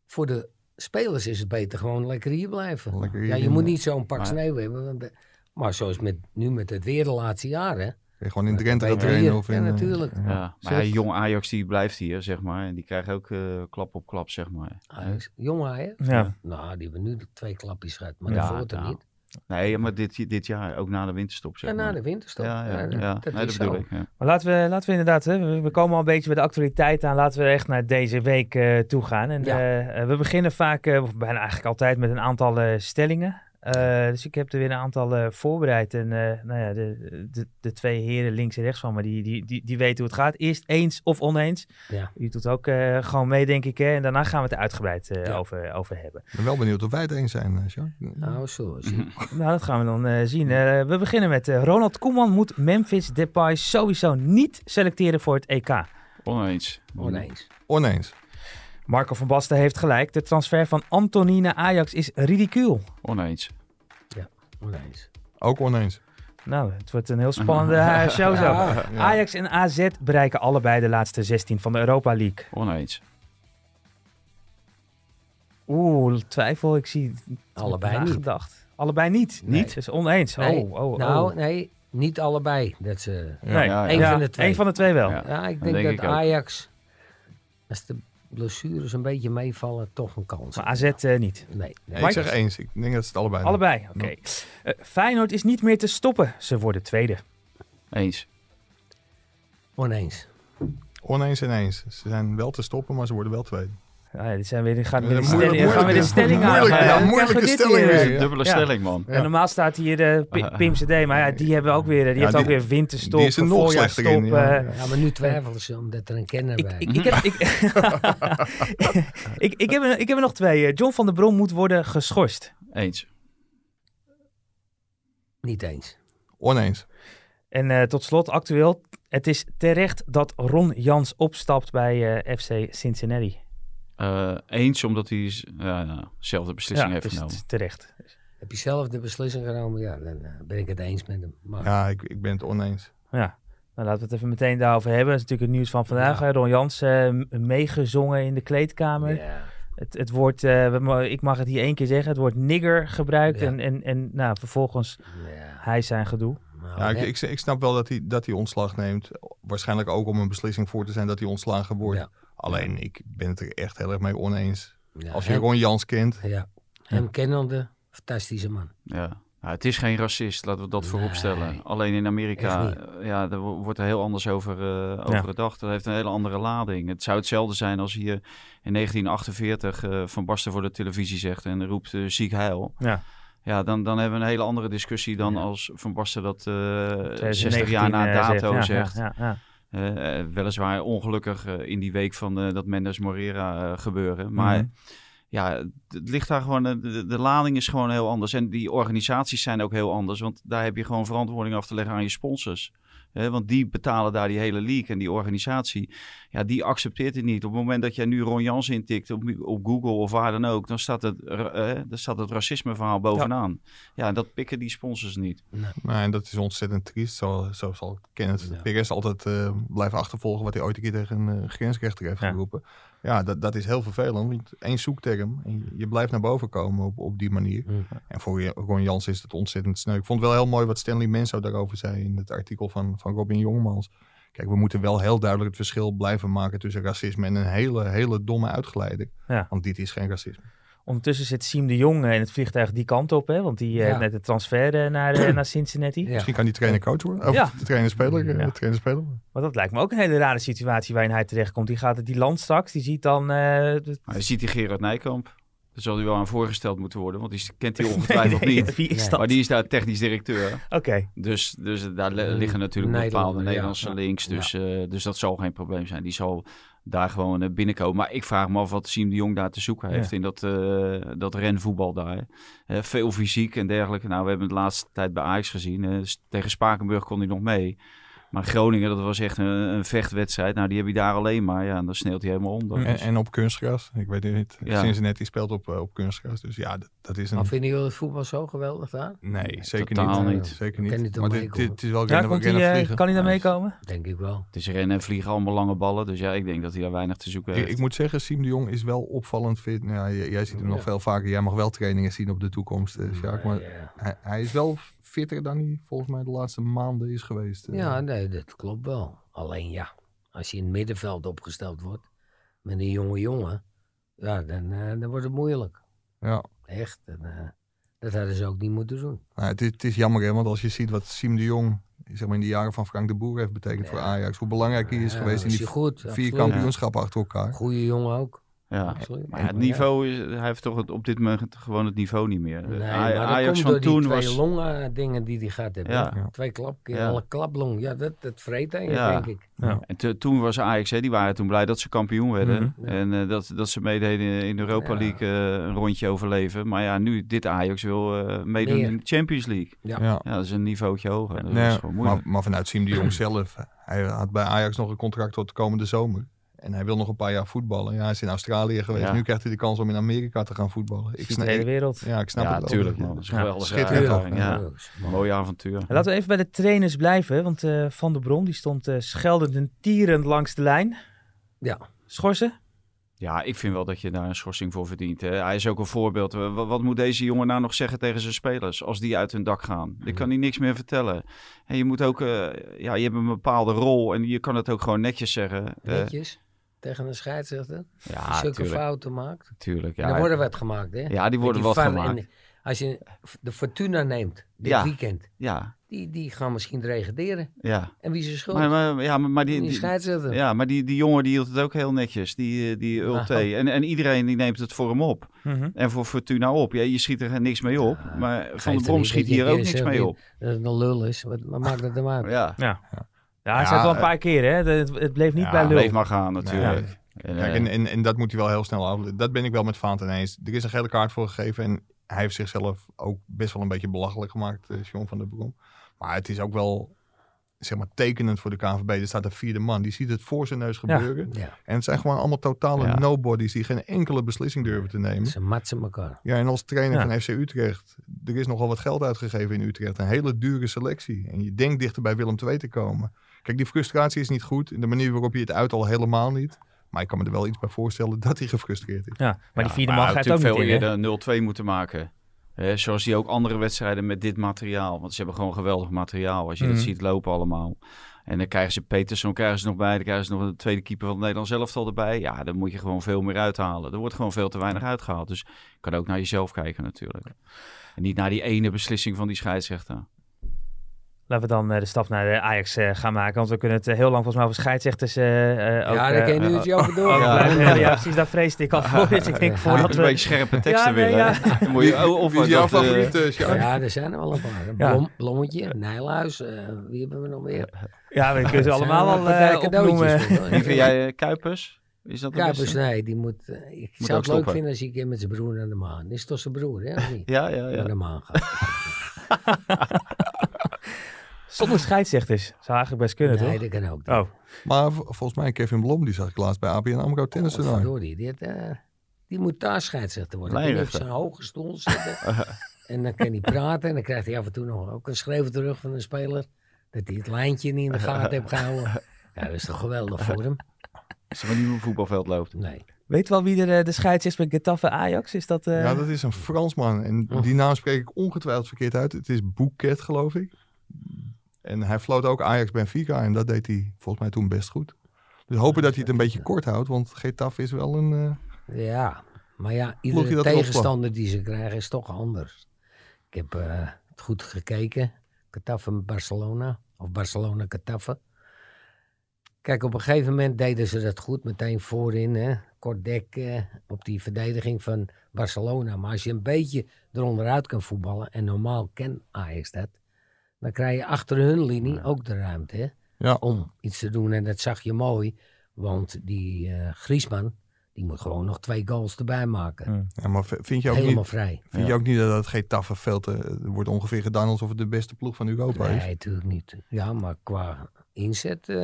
Speaker 3: voor de spelers is het beter gewoon lekker hier blijven.
Speaker 5: Lekker hier
Speaker 3: ja, je
Speaker 5: doen,
Speaker 3: moet
Speaker 5: ja.
Speaker 3: niet zo'n pak
Speaker 4: Maar-
Speaker 3: sneeuw hebben. want de- maar zoals met, nu met het weer de laatste jaren.
Speaker 5: Kun je gewoon in
Speaker 3: Ja,
Speaker 5: Drenthe gaan
Speaker 3: beter
Speaker 5: trainen.
Speaker 3: hier.
Speaker 5: Of in,
Speaker 3: Ja,
Speaker 5: eh,
Speaker 3: natuurlijk.
Speaker 5: ja.
Speaker 4: Ja, maar ja, jong Ajax die blijft hier, zeg maar. En die krijgt ook eh, klap op klap, zeg maar.
Speaker 3: Ajax, jong Ajax.
Speaker 2: Ja.
Speaker 3: Nou, die hebben nu de twee klapjes gehad, maar
Speaker 4: Ja,
Speaker 3: daarvoor het er
Speaker 4: nou,
Speaker 3: niet.
Speaker 4: Nee, maar dit, dit jaar, ook na de winterstop, zeg
Speaker 3: En
Speaker 4: maar.
Speaker 3: na de winterstop.
Speaker 4: Ja, ja, ja.
Speaker 3: dat-
Speaker 4: Nee,
Speaker 3: Dat
Speaker 4: dat
Speaker 3: is
Speaker 4: bedoel
Speaker 3: zo.
Speaker 4: ik. Ja.
Speaker 2: Maar laten we, laten we inderdaad, hè, we- we komen al een beetje bij de actualiteit aan. Laten we echt naar deze week eh, toe gaan. En
Speaker 3: Ja.
Speaker 2: eh, eh, we beginnen vaak, eh, of bijna eigenlijk altijd, met een aantal eh, stellingen. Eh, dus ik heb er weer een aantal eh, voorbereid. En eh, nou ja, de, de, de twee heren links en rechts van me, die, die, die, die weten hoe het gaat. Eerst eens of oneens.
Speaker 3: Ja.
Speaker 2: U doet ook eh, gewoon mee, denk ik. Hè? En daarna gaan we het er uitgebreid eh,
Speaker 3: Ja.
Speaker 2: over, over hebben.
Speaker 5: Ik ben wel benieuwd of wij het eens zijn, eh, Sjoerd.
Speaker 3: Nou, zo is het.
Speaker 2: Nou, dat gaan we dan eh, zien. Eh, we beginnen met eh, Ronald Koeman moet Memphis Depay sowieso niet selecteren voor het EK.
Speaker 4: Oneens.
Speaker 3: Oneens.
Speaker 5: Oneens.
Speaker 2: Marco van Basten heeft gelijk. De transfer van Anthony naar Ajax is ridicuul.
Speaker 4: Oneens.
Speaker 3: Oneens.
Speaker 5: Ook oneens.
Speaker 2: Nou, het wordt een heel spannende eh, show zo. Ajax en AZ bereiken allebei de laatste 16 van de Europa League.
Speaker 4: Oneens.
Speaker 2: Oeh, twijfel. Ik zie
Speaker 3: Allebei niet.
Speaker 2: nagedacht. niet. Allebei niet.
Speaker 3: Nee.
Speaker 2: Niet? Dus oneens.
Speaker 3: Nee.
Speaker 2: Oh, oh, oh.
Speaker 3: Nou, nee, niet allebei. Dat ze...
Speaker 2: nee.
Speaker 4: Ja,
Speaker 3: Eén
Speaker 4: ja.
Speaker 3: van de twee.
Speaker 2: Eén van de twee wel.
Speaker 4: Ja.
Speaker 3: Ja, ik
Speaker 4: dat
Speaker 3: denk,
Speaker 4: denk
Speaker 3: dat
Speaker 4: ik ook.
Speaker 3: Ajax, als de blessures een beetje meevallen, toch een kans.
Speaker 2: Maar
Speaker 3: heeft.
Speaker 2: AZ eh, niet.
Speaker 3: Nee, nee.
Speaker 5: Ja, ik zeg eens. Ik denk dat ze het allebei doen.
Speaker 2: Allebei, oké. Eh, Feyenoord is niet meer te stoppen. Ze worden tweede.
Speaker 4: Eens.
Speaker 3: oneens.
Speaker 5: Oneens en eens. Ze zijn wel te stoppen, maar ze worden wel tweede.
Speaker 2: Ah, ja, dit zijn weer, dit gaan weer
Speaker 5: Ja,
Speaker 2: de
Speaker 5: moeilijk-
Speaker 2: stellingen- gaan weer de
Speaker 5: moeilijk-
Speaker 2: stellingen aan.
Speaker 5: moeilijk-
Speaker 2: Ja,
Speaker 5: ja,
Speaker 2: dan
Speaker 5: moeilijke
Speaker 2: krijgen we dit
Speaker 5: stelling
Speaker 2: weer.
Speaker 5: weer.
Speaker 4: Een dubbele
Speaker 2: Ja.
Speaker 4: stelling, man.
Speaker 5: Ja.
Speaker 2: En normaal staat hier eh, P-
Speaker 4: Ah.
Speaker 2: Pim CD, maar ja, die hebben we ook weer. eh, Die
Speaker 5: Ja,
Speaker 2: heeft ook
Speaker 5: die-
Speaker 2: weer winterstop,
Speaker 5: die is er nog
Speaker 2: voorjaarsstop.
Speaker 5: slechter in. ja.
Speaker 2: eh.
Speaker 3: Ja, maar nu twijfelen ze omdat er een kenner
Speaker 2: Ik,
Speaker 3: bij
Speaker 2: ik, ik, heb, ik, ik, ik, heb er, ik heb er nog twee. eh. John van der Brom moet worden geschorst.
Speaker 4: Eens.
Speaker 3: Niet eens.
Speaker 5: Oneens.
Speaker 2: En eh, tot slot, actueel. Het is terecht dat Ron Jans opstapt bij eh, FC Cincinnati.
Speaker 4: Eh, eens, omdat hij is- ja, ja, zelfde beslissing
Speaker 2: ja, dus
Speaker 4: heeft
Speaker 2: het is
Speaker 4: genomen.
Speaker 2: t- terecht.
Speaker 3: Heb je zelf de beslissing genomen? Ja, dan eh, ben ik het eens met hem. Maar
Speaker 5: Ja, ik, ik ben het oneens.
Speaker 2: Ja. Nou, laten we het even meteen daarover hebben. Dat is natuurlijk het nieuws van vandaag.
Speaker 3: Ja.
Speaker 2: hè. Ron Jans eh, m- meegezongen in de kleedkamer.
Speaker 3: ja,
Speaker 2: Het, het woord, eh, we ma- ik mag het hier één keer zeggen, het woord nigger gebruikt.
Speaker 3: Ja.
Speaker 2: En, en, en nou, vervolgens
Speaker 3: ja,
Speaker 2: hij zijn gedoe.
Speaker 4: Eh,
Speaker 3: nou,
Speaker 5: Ja, ik,
Speaker 3: net-
Speaker 5: ik, ik snap wel dat hij, dat hij ontslag neemt. Waarschijnlijk ook om een beslissing voor te zijn dat hij ontslagen wordt.
Speaker 3: Ja.
Speaker 5: Alleen, ik ben het er echt heel erg mee oneens.
Speaker 3: ja,
Speaker 5: Als je
Speaker 3: hem,
Speaker 5: Ron Jans kent,
Speaker 3: ja, hem kennende, fantastische man.
Speaker 4: Ja. Ja, het is geen racist, laten we dat voorop
Speaker 3: Nee.
Speaker 4: stellen. Alleen in Amerika
Speaker 3: Echt niet.
Speaker 4: eh, ja, daar wo- wordt er heel anders over, eh over
Speaker 2: Ja.
Speaker 4: gedacht. Dat heeft een hele andere lading. Het zou hetzelfde zijn als hier in 1948 eh, Van Basten voor de televisie zegt en roept eh, ziek heil.
Speaker 2: Ja.
Speaker 4: Ja, dan, dan hebben we een hele andere discussie dan als Van Basten dat eh 60 jaar
Speaker 2: 2019,
Speaker 4: na
Speaker 2: eh,
Speaker 4: dato
Speaker 2: ja,
Speaker 4: zegt.
Speaker 2: Ja, ja, ja.
Speaker 4: Eh, eh, weliswaar ongelukkig eh, in die week van eh, dat Mendes Morera eh, gebeuren. Maar
Speaker 2: Mhm.
Speaker 4: ja, het- het ligt daar gewoon. eh, De, de lading is gewoon heel anders. En die organisaties zijn ook heel anders. Want daar heb je gewoon verantwoording af te leggen aan je sponsors. Hè, want die betalen daar die hele league en die organisatie. Ja, die accepteert het niet. Op het moment dat jij nu Ron Jans intikt op, op Google of waar dan ook, dan staat het, ra- eh, dan staat het racisme verhaal bovenaan. Ja. en dat pikken die sponsors niet.
Speaker 5: Nou, en dat is ontzettend triest. Zo, zo zal Kenneth
Speaker 4: Ja.
Speaker 5: Perez altijd eh, blijven achtervolgen wat hij ooit een keer tegen een eh, grensrechter heeft
Speaker 2: Ja.
Speaker 5: geroepen. Ja, dat, dat is heel vervelend. Want één zoekterm en je- je blijft naar boven komen op, op die manier.
Speaker 2: Mm.
Speaker 3: Hm.
Speaker 5: En voor je- Ron Jans is het ontzettend sneu. Ik vond wel heel mooi wat Stanley Menso daarover zei in het artikel van, van Robin Jongmans. Kijk, we moeten wel heel duidelijk het verschil blijven maken tussen racisme en een hele, hele domme uitgeleider.
Speaker 2: Ja.
Speaker 5: Want dit is geen racisme.
Speaker 2: Ondertussen zit Siem de Jong eh, in het vliegtuig die kant op, hè? want die eh,
Speaker 3: Ja.
Speaker 2: net de transfer eh, naar, eh, naar Cincinnati.
Speaker 3: Ja.
Speaker 5: Misschien kan die trainer coach worden. Of
Speaker 2: Ja.
Speaker 5: de trainer speler. eh,
Speaker 2: Ja.
Speaker 5: de trainer speler.
Speaker 2: Want dat lijkt me ook een hele rare situatie waarin hij terechtkomt. Die gaat het die land straks, die ziet dan... eh, de-
Speaker 4: Maar je ziet die Gerard Nijkamp. Daar zal hij wel aan voorgesteld moeten worden, want die kent hij
Speaker 2: Nee,
Speaker 4: ongetwijfeld
Speaker 2: nee,
Speaker 4: niet.
Speaker 2: Wie is
Speaker 3: Nee.
Speaker 2: dat?
Speaker 4: Maar die is daar technisch directeur.
Speaker 2: Oké,
Speaker 4: Dus, dus daar li-
Speaker 3: Mm,
Speaker 4: liggen natuurlijk
Speaker 3: Nederlander,
Speaker 4: bepaalde
Speaker 3: ja.
Speaker 4: Nederlandse
Speaker 3: Ja.
Speaker 4: links. Dus, eh, dus dat zal geen probleem zijn. Die zal daar gewoon eh, binnenkomen. Maar ik vraag me af wat Siem de Jong daar te zoeken heeft in dat, eh, dat renvoetbal daar. Eh, veel fysiek en dergelijke. Nou, we hebben het de laatste tijd bij Ajax gezien. eh, s- tegen Spakenburg kon hij nog mee. Maar Groningen, dat was echt een, een vechtwedstrijd. Nou, die heb je daar alleen maar. Ja, en dan sneelt hij helemaal onder.
Speaker 5: En, en op kunstgras. Ik weet het niet.
Speaker 4: Ja.
Speaker 5: Cincinnati speelt op, eh, op kunstgras. Dus ja, dat, dat is een...
Speaker 3: Maar vinden jullie het voetbal zo geweldig daar?
Speaker 5: Nee, zeker
Speaker 4: totaal
Speaker 5: niet. eh,
Speaker 4: niet.
Speaker 5: Zeker
Speaker 3: Kan
Speaker 5: niet.
Speaker 3: niet om
Speaker 5: maar
Speaker 3: mee
Speaker 5: dit,
Speaker 3: komen.
Speaker 5: dit is wel
Speaker 2: Ja,
Speaker 5: rennen,
Speaker 2: komt
Speaker 5: rennen
Speaker 2: hij, eh,
Speaker 5: vliegen.
Speaker 2: kan hij daar
Speaker 4: Ja,
Speaker 2: meekomen?
Speaker 3: Denk ik wel.
Speaker 4: Het is rennen en vliegen, allemaal lange ballen. Dus ja, ik denk dat hij daar weinig te zoeken
Speaker 5: Ik,
Speaker 4: heeft.
Speaker 5: ik moet zeggen, Siem de Jong is wel opvallend fit. Nou, ja, jij, jij ziet hem nog
Speaker 3: Ja.
Speaker 5: veel vaker. Jij mag wel trainingen zien op de toekomst, eh, Sjaak. Maar
Speaker 3: ja.
Speaker 5: hij, hij is wel fitter dan hij volgens mij de laatste maanden is geweest. eh.
Speaker 3: ja, nee, dat klopt wel. Alleen ja, als je in het middenveld opgesteld wordt met een jonge jongen, ja, dan, eh, dan wordt het moeilijk.
Speaker 5: ja.
Speaker 3: Echt. En, eh, dat hadden ze ook niet moeten doen.
Speaker 5: Nou, het, is, het is jammer, hè, want als je ziet wat Siem de Jong zeg maar, in de jaren van Frank de Boer heeft betekend voor
Speaker 3: Ja.
Speaker 5: Ajax. Hoe belangrijk hij is
Speaker 3: Ja,
Speaker 5: geweest in
Speaker 3: was
Speaker 5: die
Speaker 3: hij Eh, goed,
Speaker 5: vier
Speaker 3: absoluut.
Speaker 5: kampioenschappen achter elkaar.
Speaker 3: Goeie jongen ook.
Speaker 4: ja.
Speaker 3: absoluut.
Speaker 4: Maar ja, het
Speaker 3: Maar ja.
Speaker 4: niveau, is, hij heeft toch het- op dit moment gewoon het niveau niet meer.
Speaker 3: Nee,
Speaker 4: Eh,
Speaker 3: maar dat
Speaker 4: Ajax
Speaker 3: komt
Speaker 4: van
Speaker 3: door die
Speaker 4: toen
Speaker 3: twee
Speaker 4: was...
Speaker 3: longen eh, dingen die hij gaat hebben.
Speaker 4: Ja.
Speaker 3: hè. Twee klapkeer,
Speaker 4: Ja.
Speaker 3: alle klaplong. Ja, dat, dat vreet hij,
Speaker 4: Ja.
Speaker 3: denk ik.
Speaker 4: En te- toen was Ajax, hè, die waren toen blij dat ze kampioen werden.
Speaker 2: Mhm.
Speaker 4: En eh, dat, dat ze meededen in de Europa
Speaker 3: Ja.
Speaker 4: League eh, een rondje overleven. Maar ja, nu dit Ajax wil eh, meedoen
Speaker 3: Meer.
Speaker 4: in de Champions League.
Speaker 3: Ja.
Speaker 5: Ja.
Speaker 4: Ja, dat is een niveautje hoger. Dat is
Speaker 5: Nee,
Speaker 4: gewoon
Speaker 5: maar,
Speaker 4: moeilijk.
Speaker 5: maar vanuit Siem de Jong zelf. Hij had bij Ajax nog een contract tot de komende zomer. En hij wil nog een paar jaar voetballen. Ja, hij is in Australië geweest.
Speaker 4: Ja.
Speaker 5: Nu krijgt hij de kans om in Amerika te gaan voetballen. Ik
Speaker 2: Ziet de
Speaker 5: snap,
Speaker 2: hele
Speaker 5: ik,
Speaker 2: wereld.
Speaker 5: ja, ik snap
Speaker 4: ja,
Speaker 5: het wel.
Speaker 4: natuurlijk man. Dat is een
Speaker 2: Ja,
Speaker 4: geweldige
Speaker 5: schitterend
Speaker 4: ervaring,
Speaker 5: toch?
Speaker 4: ja.
Speaker 3: Ja.
Speaker 4: Een Mooi avontuur.
Speaker 2: En Laten we even bij de trainers blijven. Want eh, Van der Bron die stond eh, scheldend en tierend langs de lijn.
Speaker 3: Ja.
Speaker 2: Schorsen?
Speaker 4: Ja, ik vind wel dat je daar een schorsing voor verdient. Hè. Hij is ook een voorbeeld. Wa- wa- Wat, moet deze jongen nou nog zeggen tegen zijn spelers als die uit hun dak gaan?
Speaker 3: Mhm.
Speaker 4: Ik kan hij niks meer vertellen. En je moet ook, eh, ja, je hebt een bepaalde rol en je kan het ook gewoon netjes zeggen. Eh,
Speaker 3: Netjes. Tegen een scheidsrechter. Die
Speaker 4: ja,
Speaker 3: zulke
Speaker 4: Ah, tuurlijk.
Speaker 3: fouten maakt.
Speaker 4: tuurlijk
Speaker 3: er
Speaker 4: ja,
Speaker 3: worden wat gemaakt, hè?
Speaker 4: ja, die
Speaker 3: Met
Speaker 4: worden
Speaker 3: die
Speaker 4: wat
Speaker 3: VAR
Speaker 4: gemaakt.
Speaker 3: en als je de Fortuna neemt, dit
Speaker 4: Ja.
Speaker 3: weekend,
Speaker 4: Ja,
Speaker 3: die, die gaan misschien reageren.
Speaker 4: ja.
Speaker 3: En wie is er schuld?
Speaker 4: Maar, maar, ja, maar, maar die,
Speaker 3: die
Speaker 4: die-
Speaker 3: scheidsrechter.
Speaker 4: ja, maar die, die jongen die hield het ook heel netjes, die, eh, die Ulte.
Speaker 3: Nou.
Speaker 4: En, en iedereen die neemt het voor hem op.
Speaker 2: Mhm.
Speaker 4: En voor Fortuna op. Ja, je schiet er niks mee op. Maar Van
Speaker 3: er
Speaker 4: der Brom
Speaker 3: niet
Speaker 4: schiet
Speaker 3: dat je
Speaker 4: hier ook
Speaker 3: eerst
Speaker 4: niks
Speaker 3: zegt
Speaker 4: mee
Speaker 3: die-
Speaker 4: op.
Speaker 3: Dat het een lul is. Wat, wat maakt dat hem uit?
Speaker 4: Ja.
Speaker 2: Ja, hij
Speaker 5: Ja,
Speaker 2: zei het wel een
Speaker 5: eh,
Speaker 2: paar keer. Hè? Het, het bleef niet
Speaker 5: Ja,
Speaker 2: bij lul.
Speaker 4: Bleef maar gaan natuurlijk. En,
Speaker 5: Kijk,
Speaker 4: eh,
Speaker 5: en, en, en dat moet hij wel heel snel af. Dat ben ik wel met Vaant ineens. Er is een gele kaart voor gegeven. En hij heeft zichzelf ook best wel een beetje belachelijk gemaakt, eh, John van der Brom. Maar het is ook wel zeg maar, tekenend voor de KNVB. Er staat een vierde man. Die ziet het voor zijn neus gebeuren.
Speaker 3: Ja,
Speaker 5: En het zijn gewoon allemaal totale
Speaker 4: Ja.
Speaker 5: nobodies die geen enkele beslissing durven te nemen.
Speaker 3: ze
Speaker 4: Hm?
Speaker 3: matsen elkaar.
Speaker 5: Ja, en als trainer
Speaker 2: Ja.
Speaker 5: van FC Utrecht, er is nogal wat geld uitgegeven in Utrecht. Een hele dure selectie. En je denkt dichter bij Willem II te komen. Kijk, die frustratie is niet goed. En de manier waarop je het uit al helemaal niet. Maar ik kan me er wel iets bij voorstellen dat hij gefrustreerd is.
Speaker 2: Ja, maar die vierde
Speaker 4: eh, maar
Speaker 2: man
Speaker 4: hij had
Speaker 2: gaat ook niet in. hè?
Speaker 4: natuurlijk veel eerder een 0-2 moeten maken. Hè, zoals die ook andere wedstrijden met dit materiaal. Want ze hebben gewoon geweldig materiaal. Als je
Speaker 2: Mhm.
Speaker 4: dat ziet lopen allemaal. En dan krijgen ze Peterson krijgen ze nog bij. Dan krijgen ze nog de tweede keeper van het Nederlands elftal erbij. Ja, dan moet je gewoon veel meer uithalen. Er wordt gewoon veel te weinig uitgehaald. Dus je kan ook naar jezelf kijken natuurlijk. En niet naar die ene beslissing van die scheidsrechter.
Speaker 2: Laten we dan eh, de stap naar de Ajax eh, gaan maken. Want we kunnen het eh, heel lang volgens mij over scheidsrechters eh, eh, ook...
Speaker 3: ja, daar
Speaker 2: eh,
Speaker 3: kan je nu
Speaker 4: eh,
Speaker 3: het over door.
Speaker 2: ook
Speaker 4: Ja.
Speaker 2: blijven. ja. precies. Daar vreesde ik al voor. Dus ik denk
Speaker 3: Ja.
Speaker 4: Voor
Speaker 2: voordat
Speaker 4: een
Speaker 2: we...
Speaker 4: beetje scherpe teksten
Speaker 2: Ja, nee,
Speaker 4: willen.
Speaker 2: ja.
Speaker 4: Dan moet je oh, of
Speaker 5: Wie is jouw
Speaker 4: dat, eh,
Speaker 5: favoriet, eh, Sjaak?
Speaker 3: Ja, er zijn er wel een paar.
Speaker 2: Ja.
Speaker 3: Blom, Blommetje, Nijlhuis, eh, wie hebben we nog meer?
Speaker 2: Ja, we kunnen ze
Speaker 3: Er zijn
Speaker 2: allemaal
Speaker 3: wel
Speaker 2: al
Speaker 3: een partij
Speaker 2: eh, opnoemen.
Speaker 3: cadeautjes, hoor.
Speaker 4: Wie vind jij eh, Kuipers? Is dat de
Speaker 3: Kuipers,
Speaker 4: beste?
Speaker 3: nee, die moet... eh, ik
Speaker 4: Moet
Speaker 3: zou het
Speaker 4: ook
Speaker 3: leuk
Speaker 4: stoppen.
Speaker 3: vinden als hij een keer met zijn broer naar de maan. Dit is toch zijn broer, hè? Of niet?
Speaker 4: Ja, ja, ja.
Speaker 3: Naar de maan gaat.
Speaker 2: Zonder scheidsrechters. Zou eigenlijk best kunnen,
Speaker 3: nee,
Speaker 2: toch?
Speaker 3: dat kan ook.
Speaker 2: Oh,
Speaker 5: Maar v- volgens mij Kevin Blom, die zag ik laatst bij ABN AMRO Tennis
Speaker 4: Oh,
Speaker 3: Wat
Speaker 5: toernooi.
Speaker 3: verdorie, die, had, eh, die moet daar scheidsrechter worden. Die moet op
Speaker 4: Lijnrechter.
Speaker 3: zijn hoge stoel zitten. en dan kan hij praten. En dan krijgt hij af en toe nog ook een schreeuw terug van een speler. Dat hij het lijntje niet in de gaten heeft gehouden. Ja, dat is toch geweldig voor hem?
Speaker 4: Als hij maar niet op een voetbalveld loopt.
Speaker 3: Nee.
Speaker 2: weet wel wie er eh, de scheids is bij Getafe Ajax? Is dat... eh,
Speaker 5: Ja, dat is een Fransman. En
Speaker 3: Oh.
Speaker 5: die naam spreek ik ongetwijfeld verkeerd uit. Het is Bouquet, geloof ik. En hij floot ook Ajax Benfica. En dat deed hij volgens mij toen best goed. Dus hopen dat hij het een beetje kort houdt. Want Getafe is wel een... eh,
Speaker 3: Ja, maar ja,
Speaker 5: Moet je
Speaker 3: iedere
Speaker 5: dat erop
Speaker 3: tegenstander die ze krijgen is toch anders. Ik heb eh, het goed gekeken. Cataffe met Barcelona. Of Barcelona Cataffe. Kijk, op een gegeven moment deden ze dat goed. Meteen voorin, hè. kort dek eh, op die verdediging van Barcelona. Maar als je een beetje eronderuit kan voetballen, en normaal kent Ajax dat, dan krijg je achter hun linie ook de ruimte hè,
Speaker 5: Ja.
Speaker 3: om iets te doen. En dat zag je mooi, want die eh Griezmann, die moet gewoon nog twee goals erbij maken.
Speaker 5: Ja, maar v- vind je ook
Speaker 3: Helemaal
Speaker 5: niet,
Speaker 3: vrij.
Speaker 5: vind je ook niet dat het eh, Getafe veel te... Er wordt ongeveer gedaan alsof het de beste ploeg van Europa is.
Speaker 3: Nee, natuurlijk niet. Ja, maar qua inzet eh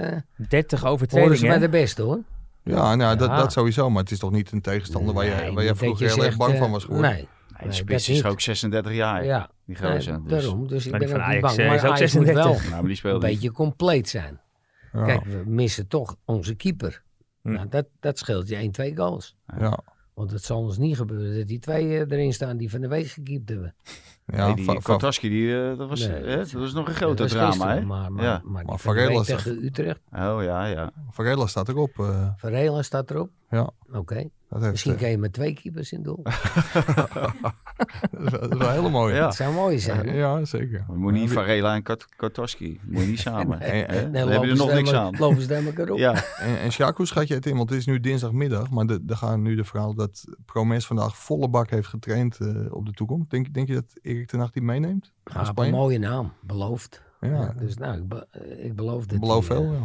Speaker 3: horen
Speaker 2: 30
Speaker 3: ze
Speaker 2: overtredingen.
Speaker 3: maar de
Speaker 2: hè?
Speaker 3: beste hoor.
Speaker 5: Ja, nou, Dat,
Speaker 3: Ja.
Speaker 5: dat sowieso. Maar het is toch niet een tegenstander waar
Speaker 3: Nee,
Speaker 5: je, waar
Speaker 3: niet
Speaker 5: je
Speaker 3: dat
Speaker 5: vroeger heel erg
Speaker 3: zegt,
Speaker 5: bang
Speaker 3: eh,
Speaker 5: van was geworden.
Speaker 3: Nee,
Speaker 4: Die
Speaker 3: nee,
Speaker 4: spits
Speaker 3: dat
Speaker 4: is
Speaker 3: niet.
Speaker 4: ook 36 jaar,
Speaker 3: Ja,
Speaker 4: die
Speaker 3: nee,
Speaker 4: gozer. dus.
Speaker 3: daarom. Dus ik
Speaker 2: Maar
Speaker 3: ben
Speaker 2: die
Speaker 3: ook
Speaker 2: van
Speaker 3: niet
Speaker 2: Ajax,
Speaker 3: bang.
Speaker 2: eh,
Speaker 3: Maar
Speaker 2: is ook
Speaker 3: Ajax moet wel
Speaker 2: 36.
Speaker 4: Nou, maar die
Speaker 3: een
Speaker 4: speelde niet.
Speaker 3: beetje compleet zijn.
Speaker 5: Ja.
Speaker 3: Kijk, we missen toch onze keeper.
Speaker 2: Hm.
Speaker 3: Nou, dat, dat scheelt je 1-2 goals.
Speaker 5: ja.
Speaker 3: Want het zal ons niet gebeuren dat die twee eh, erin staan die van de week gekiept hebben.
Speaker 5: Ja,
Speaker 4: Nee, die
Speaker 5: va- va-
Speaker 4: Kvartaski, die, eh, dat, was,
Speaker 3: Nee,
Speaker 4: hè,
Speaker 3: dat-
Speaker 4: dat was nog een
Speaker 3: Dat
Speaker 4: groter
Speaker 3: was
Speaker 4: drama,
Speaker 3: gisteren,
Speaker 4: hè?
Speaker 3: Maar, maar,
Speaker 4: Ja.
Speaker 3: maar, die
Speaker 5: Maar
Speaker 3: van de week
Speaker 5: Varela staat-
Speaker 3: tegen Utrecht.
Speaker 4: Oh ja, ja.
Speaker 5: Varela staat ook op. eh,
Speaker 3: Varela staat erop.
Speaker 5: ja,
Speaker 3: Oké.
Speaker 5: dat, heeft,
Speaker 3: Misschien
Speaker 5: eh,
Speaker 3: kan je met twee keepers in doel.
Speaker 5: dat is wel- dat is wel heel mooi.
Speaker 4: Ja.
Speaker 3: Dat zou mooi
Speaker 5: ja.
Speaker 3: zijn.
Speaker 5: ja, zeker.
Speaker 4: Maar Moet niet Varela en Kat- Kvartaski, moet je niet samen.
Speaker 3: Nee,
Speaker 4: hè?
Speaker 3: nee,
Speaker 4: Dan
Speaker 3: lopen
Speaker 4: heb je er
Speaker 3: ze
Speaker 4: nog niks
Speaker 3: helemaal-
Speaker 4: aan.
Speaker 3: Lopen ze daar elkaar op.
Speaker 4: Ja,
Speaker 5: En, en Sjaku schat je het in, want het is nu dinsdagmiddag. Maar de- er gaan nu de verhaal dat Promes vandaag volle bak heeft getraind eh, op de toekomst. Denk, denk je dat Erik ten Hag die meeneemt?
Speaker 3: Ah,
Speaker 5: Naar
Speaker 3: een
Speaker 5: Spanje?
Speaker 3: mooie naam. Beloofd.
Speaker 5: Ja,
Speaker 3: Ja, dus nou, ik, be- eh, ik beloof dat
Speaker 5: beloof
Speaker 3: die, eh,
Speaker 5: veel. Ja.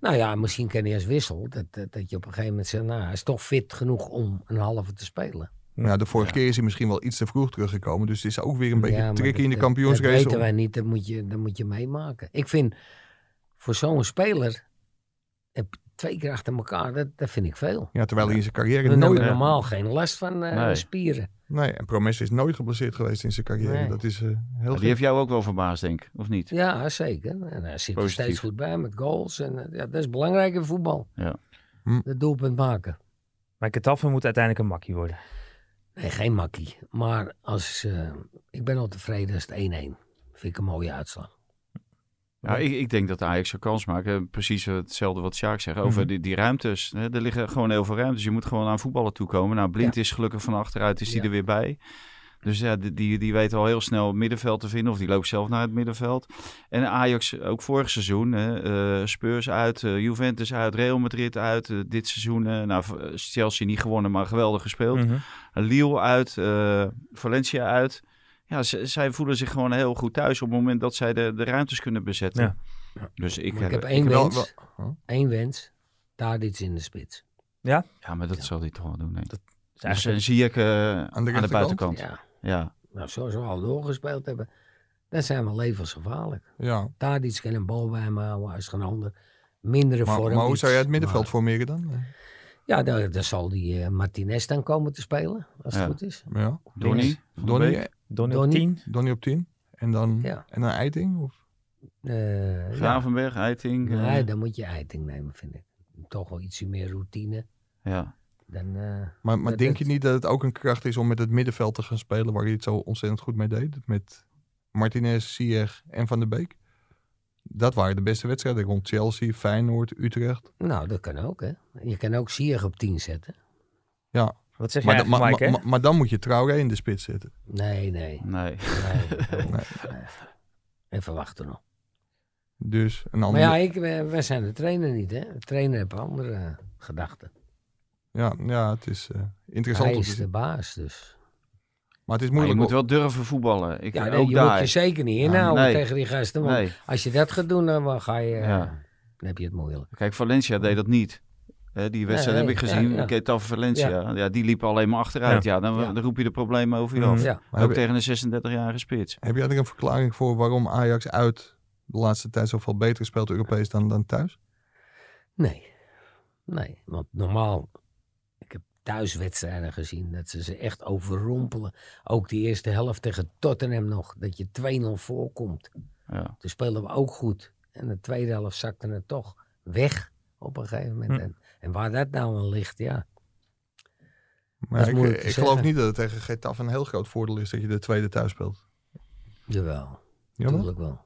Speaker 3: Nou ja, misschien kan hij als wissel. Dat, dat, dat je op een gegeven moment zegt, nou, hij is toch fit genoeg om een halve te spelen.
Speaker 5: Maar ja, de vorige keer is hij misschien wel iets te vroeg teruggekomen. Dus het is ook weer een beetje
Speaker 3: Ja, maar
Speaker 5: tricky
Speaker 3: dat-
Speaker 5: in de
Speaker 3: dat-
Speaker 5: kampioensrace.
Speaker 3: Dat
Speaker 5: om-
Speaker 3: weten wij niet, dat moet je, dat moet je meemaken. Ik vind, voor zo'n speler, heb twee keer achter elkaar, dat, dat vind ik veel.
Speaker 5: Ja, terwijl hij in zijn
Speaker 3: We
Speaker 5: carrière nooit...
Speaker 3: hebben normaal geen last van eh,
Speaker 4: Nee.
Speaker 3: spieren.
Speaker 5: Nee, en Promes is nooit geblesseerd geweest in zijn carrière.
Speaker 3: Nee.
Speaker 5: Dat is eh, heel
Speaker 4: die heeft jou ook wel verbaasd, denk ik, of niet?
Speaker 3: Ja, zeker. En hij zit er
Speaker 4: Positief.
Speaker 3: steeds goed bij met goals. En, eh, ja, dat is belangrijk in voetbal.
Speaker 4: Ja.
Speaker 5: Hm.
Speaker 3: Het doelpunt maken.
Speaker 2: Maar Kataffen moet uiteindelijk een makkie worden.
Speaker 3: Nee, geen makkie. Maar als, eh, ik ben al tevreden als het 1-1. Vind ik een mooie uitslag.
Speaker 4: Ja, ik, ik denk dat Ajax een kans maakt. Eh, Precies hetzelfde wat Sjaak zegt over
Speaker 2: Mhm.
Speaker 4: die, die ruimtes. Hè, er liggen gewoon heel veel ruimtes. Je moet gewoon aan voetballen toekomen. Nou, Blind is gelukkig van achteruit, is die
Speaker 3: Ja.
Speaker 4: er weer bij. Dus ja, die- die, die weet al heel snel het middenveld te vinden. Of die loopt zelf naar het middenveld. En Ajax ook vorig seizoen. Hè, eh, Spurs uit, eh, Juventus uit, Real Madrid uit. eh, dit seizoen, eh, nou, v- Chelsea niet gewonnen, maar geweldig gespeeld.
Speaker 2: Mhm.
Speaker 4: Lille uit, eh, Valencia uit. Ja, z- zij voelen zich gewoon heel goed thuis op het moment dat zij de, de ruimtes kunnen bezetten.
Speaker 2: Ja.
Speaker 4: Ja. Dus ik,
Speaker 3: Maar ik heb
Speaker 4: eh,
Speaker 3: één
Speaker 5: wel-
Speaker 3: wens.
Speaker 5: wel- huh?
Speaker 3: Eén wens. Daar iets in de spits.
Speaker 4: Ja, maar dat zal hij toch wel doen. Nee.
Speaker 2: Dus
Speaker 4: Dus
Speaker 2: eigenlijk-
Speaker 4: dan zie ik eh, aan, de
Speaker 5: rechterkant?
Speaker 4: buitenkant. Ja.
Speaker 3: Ja. Nou, zoals we al doorgespeeld hebben, dan zijn we levensgevaarlijk.
Speaker 5: Ja.
Speaker 3: Tadic kan een bal bij hem houden, hij is geen ander. Mindere
Speaker 5: Maar,
Speaker 3: vorm.
Speaker 5: maar hoe
Speaker 3: iets,
Speaker 5: zou jij het middenveld
Speaker 3: maar-
Speaker 5: formeren dan?
Speaker 3: Ja, daar, daar zal die eh, Martinez dan komen te spelen, als
Speaker 4: Ja.
Speaker 3: het goed is.
Speaker 5: Ja.
Speaker 4: Dus, eh, Donny? Van Beek?
Speaker 5: Donny,
Speaker 2: Donny op
Speaker 3: Donny?
Speaker 2: 10.
Speaker 5: Donny op 10. En dan,
Speaker 3: Ja.
Speaker 5: en dan Eiting? Of?
Speaker 3: Eh, ja.
Speaker 4: Gravenberg, Eiting. eh,
Speaker 3: Nee, dan moet je Eiting nemen, vind ik. Toch wel ietsje meer routine
Speaker 4: ja.
Speaker 3: dan... eh,
Speaker 5: Maar, maar
Speaker 3: Dat-
Speaker 5: denk je
Speaker 3: dat-
Speaker 5: niet dat het ook een kracht is om met het middenveld te gaan spelen waar hij het zo ontzettend goed mee deed? Met Martinez, Sieg en Van der Beek? Dat waren de beste wedstrijden rond Chelsea, Feyenoord, Utrecht.
Speaker 3: nou, dat kan ook, hè. Je kan ook Sier op 10 zetten.
Speaker 2: Wat zeg
Speaker 5: Maar,
Speaker 2: jij
Speaker 5: da- maar,
Speaker 2: eigenlijk, Mike, hè?
Speaker 5: maar- maar dan moet je Traoré in de spits zetten.
Speaker 3: Nee, nee.
Speaker 4: Nee.
Speaker 3: nee, nee. Even wachten nog.
Speaker 5: Dus een
Speaker 3: Maar
Speaker 5: andere...
Speaker 3: ja, ik, wij wij zijn de trainer niet, hè. De trainer heeft andere eh, gedachten.
Speaker 5: ja, ja, het is eh, interessant
Speaker 3: Hij
Speaker 5: om te
Speaker 3: is de
Speaker 5: zien.
Speaker 3: baas, dus.
Speaker 5: Maar het
Speaker 4: Maar je
Speaker 5: is moeilijk.
Speaker 4: moet wel durven voetballen. Ik,
Speaker 3: Ja, nee,
Speaker 4: ook
Speaker 3: je moet
Speaker 4: daar.
Speaker 3: je zeker niet inhouden
Speaker 4: nee.
Speaker 3: tegen die gasten. Want
Speaker 4: Nee.
Speaker 3: als je dat gaat doen, dan ga je, eh,
Speaker 4: Ja.
Speaker 3: dan heb je het moeilijk.
Speaker 4: Kijk, Valencia deed dat niet. Hè, die wedstrijd
Speaker 3: Nee,
Speaker 4: heb ik
Speaker 3: nee,
Speaker 4: gezien.
Speaker 3: ja, ja.
Speaker 4: Getafe Valencia. Ja. die liepen alleen maar achteruit. Ja, dan,
Speaker 3: Ja.
Speaker 4: dan roep je de problemen over je
Speaker 2: Mhm.
Speaker 4: af.
Speaker 3: Ja.
Speaker 5: Maar
Speaker 4: ook
Speaker 5: heb-
Speaker 4: tegen een 36-jarige spits.
Speaker 5: Heb jij er een verklaring voor waarom Ajax uit de laatste tijd zoveel beter speelt Europees dan, dan thuis?
Speaker 3: Nee. Nee, want normaal, ik heb thuiswedstrijden gezien dat ze ze echt overrompelen. Ook die eerste helft tegen Tottenham nog, dat je 2-0 voorkomt.
Speaker 4: Ja.
Speaker 3: Toen spelen we ook goed. En de tweede helft zakte het toch weg op een gegeven moment.
Speaker 2: Hm.
Speaker 3: En, en waar dat nou aan ligt, ja.
Speaker 5: Maar
Speaker 3: Dat is
Speaker 5: ik,
Speaker 3: moeilijk te
Speaker 5: ik geloof
Speaker 3: zeggen.
Speaker 5: niet dat het tegen Getafe een heel groot voordeel is dat je de tweede thuis speelt.
Speaker 3: Jawel,
Speaker 5: Jammer.
Speaker 3: natuurlijk wel.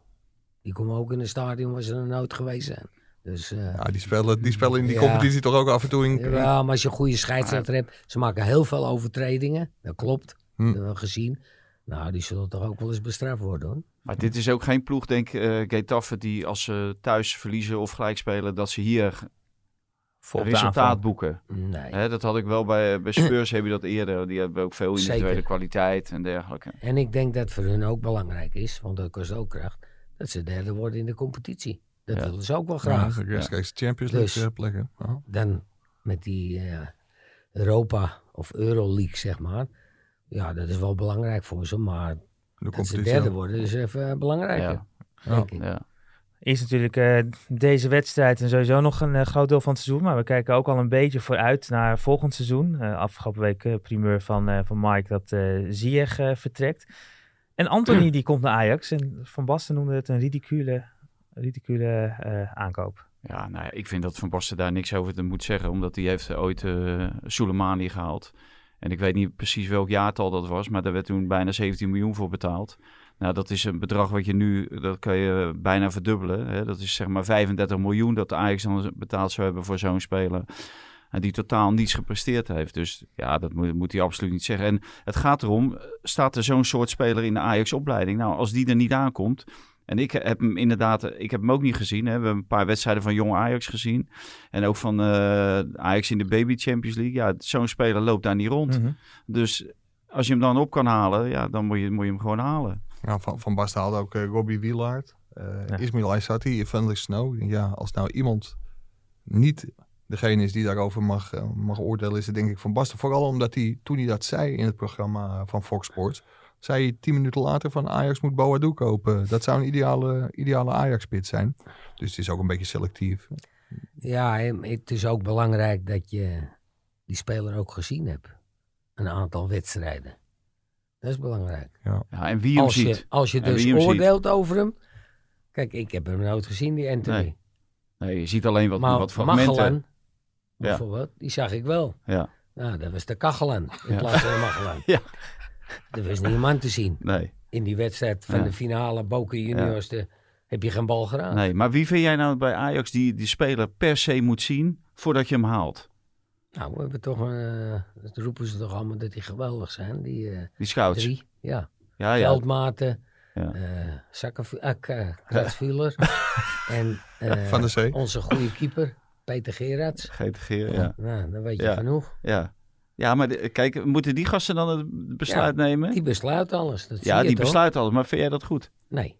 Speaker 3: Die komen ook in het stadion waar ze er nooit geweest zijn. Dus... eh,
Speaker 5: Ja, die spelen, die spelen in die
Speaker 3: Ja.
Speaker 5: competitie toch ook af en toe in.
Speaker 3: Ja, maar als je een goede scheidsrechter hebt, ze maken heel veel overtredingen. Dat klopt,
Speaker 5: Hm.
Speaker 3: dat hebben we gezien. Nou, die zullen toch ook wel eens bestraft worden hoor.
Speaker 4: Maar dit is ook geen ploeg, denk ik, eh, Getafe, die als ze thuis verliezen of gelijk spelen, dat ze hier
Speaker 2: Vol op de
Speaker 4: resultaat
Speaker 2: aanval.
Speaker 4: boeken.
Speaker 3: Nee.
Speaker 4: Hè, dat had ik wel bij, bij Spurs, heb je dat eerder. Die hebben ook veel individuele
Speaker 3: Zeker.
Speaker 4: kwaliteit en dergelijke.
Speaker 3: En ik denk dat voor hun ook belangrijk is, want dat kost ook kracht, dat ze derde worden in de competitie. Dat
Speaker 4: Ja.
Speaker 3: willen ze ook wel
Speaker 5: Ja,
Speaker 3: graag.
Speaker 5: rechtstreeks Champions League
Speaker 3: Dus-
Speaker 5: eh, plekken. Ja.
Speaker 3: Dan met die eh, Europa of Euroleague, zeg maar. Ja, dat is wel belangrijk voor ze, maar
Speaker 5: De
Speaker 3: dat ze
Speaker 5: competitie.
Speaker 3: derde worden is even eh, belangrijker.
Speaker 4: Ja.
Speaker 3: Denk ik.
Speaker 4: Ja.
Speaker 2: Is natuurlijk eh, deze wedstrijd en sowieso nog een eh, groot deel van het seizoen. Maar we kijken ook al een beetje vooruit naar volgend seizoen. Eh, afgelopen week eh, primeur van, eh, van Mike dat eh Ziyech eh, vertrekt. En Anthony die komt naar Ajax. En Van Basten noemde het een ridicule, ridicule eh, aankoop.
Speaker 4: Ja, nou ja, ik vind dat Van Basten daar niks over te moet zeggen. Omdat die heeft eh, ooit eh Soleimani gehaald. En ik weet niet precies welk jaartal dat was. Maar daar werd toen bijna 17 miljoen voor betaald. Nou, dat is een bedrag wat je nu, dat kan je bijna verdubbelen. Hè? Dat is zeg maar 35 miljoen dat de Ajax dan betaald zou hebben voor zo'n speler. En die totaal niets gepresteerd heeft. Dus ja, dat moet, moet hij absoluut niet zeggen. En het gaat erom, eh, staat er zo'n soort speler in de Ajax-opleiding? Nou, als die er niet aankomt, en ik heb hem inderdaad, eh, ik heb hem ook niet gezien. Hè. We hebben een paar wedstrijden van jong Ajax gezien. En ook van eh, Ajax in de Baby Champions League. Ja, zo'n speler loopt daar niet rond.
Speaker 2: Mhm.
Speaker 4: Dus als je hem dan op kan halen, ja, dan moet je, moet je hem gewoon halen.
Speaker 5: Ja, van, van Basten haalde ook eh, Robbie Wielaert, eh
Speaker 2: Ja.
Speaker 5: Ismail Aysati, Evangelist Snow. Ik denk, Ja, als nou iemand niet degene is die daarover mag, eh, mag oordelen, is het denk ik Van Basten. Vooral omdat hij, toen hij dat zei in het programma van Fox Sports, zei hij tien minuten later van Ajax moet Boadu kopen. Dat zou een ideale, ideale Ajax-pit zijn. Dus het is ook een beetje selectief.
Speaker 3: Ja, en het is ook belangrijk dat je die speler ook gezien hebt. Een aantal wedstrijden. Dat is belangrijk.
Speaker 4: Ja, en wie hem
Speaker 3: als,
Speaker 4: ziet.
Speaker 3: je, als je
Speaker 4: En wie
Speaker 3: dus
Speaker 4: hem ziet.
Speaker 3: oordeelt over hem. Kijk, ik heb hem nooit gezien, die Anthony.
Speaker 4: Nee, Nee, je ziet alleen wat,
Speaker 3: maar
Speaker 4: wat fragmenten.
Speaker 3: Magellan, bijvoorbeeld, die zag ik wel.
Speaker 4: Ja,
Speaker 3: Nou, dat was de Kachelan in
Speaker 4: Ja.
Speaker 3: plaats van de Magellan.
Speaker 4: Ja.
Speaker 3: Er was niemand te zien.
Speaker 4: nee,
Speaker 3: In die wedstrijd van
Speaker 4: Ja.
Speaker 3: de finale Boca Juniors de- heb je geen bal geraakt.
Speaker 4: nee. Maar wie vind jij nou bij Ajax die die speler per se moet zien voordat je hem haalt?
Speaker 3: Nou, we hebben toch een, eh, dat roepen ze toch allemaal dat die geweldig zijn, die eh,
Speaker 4: Die scouts.
Speaker 3: drie. Ja.
Speaker 4: Ja, ja.
Speaker 3: Veldmaten,
Speaker 4: Ja.
Speaker 3: eh Zakkenvu- eh, K- Kratsvuller en eh,
Speaker 5: Van de Zee.
Speaker 3: onze goede keeper Peter Gerards.
Speaker 4: Geïntegreerd, ja.
Speaker 3: Nou, dan weet je
Speaker 4: Ja.
Speaker 3: genoeg.
Speaker 4: ja. Ja, maar de- kijk, moeten die gasten dan het besluit nemen?
Speaker 3: Die besluit alles. Dat
Speaker 4: ja,
Speaker 3: zie je
Speaker 4: die
Speaker 3: toch?
Speaker 4: besluit alles. Maar vind jij dat goed?
Speaker 3: Nee.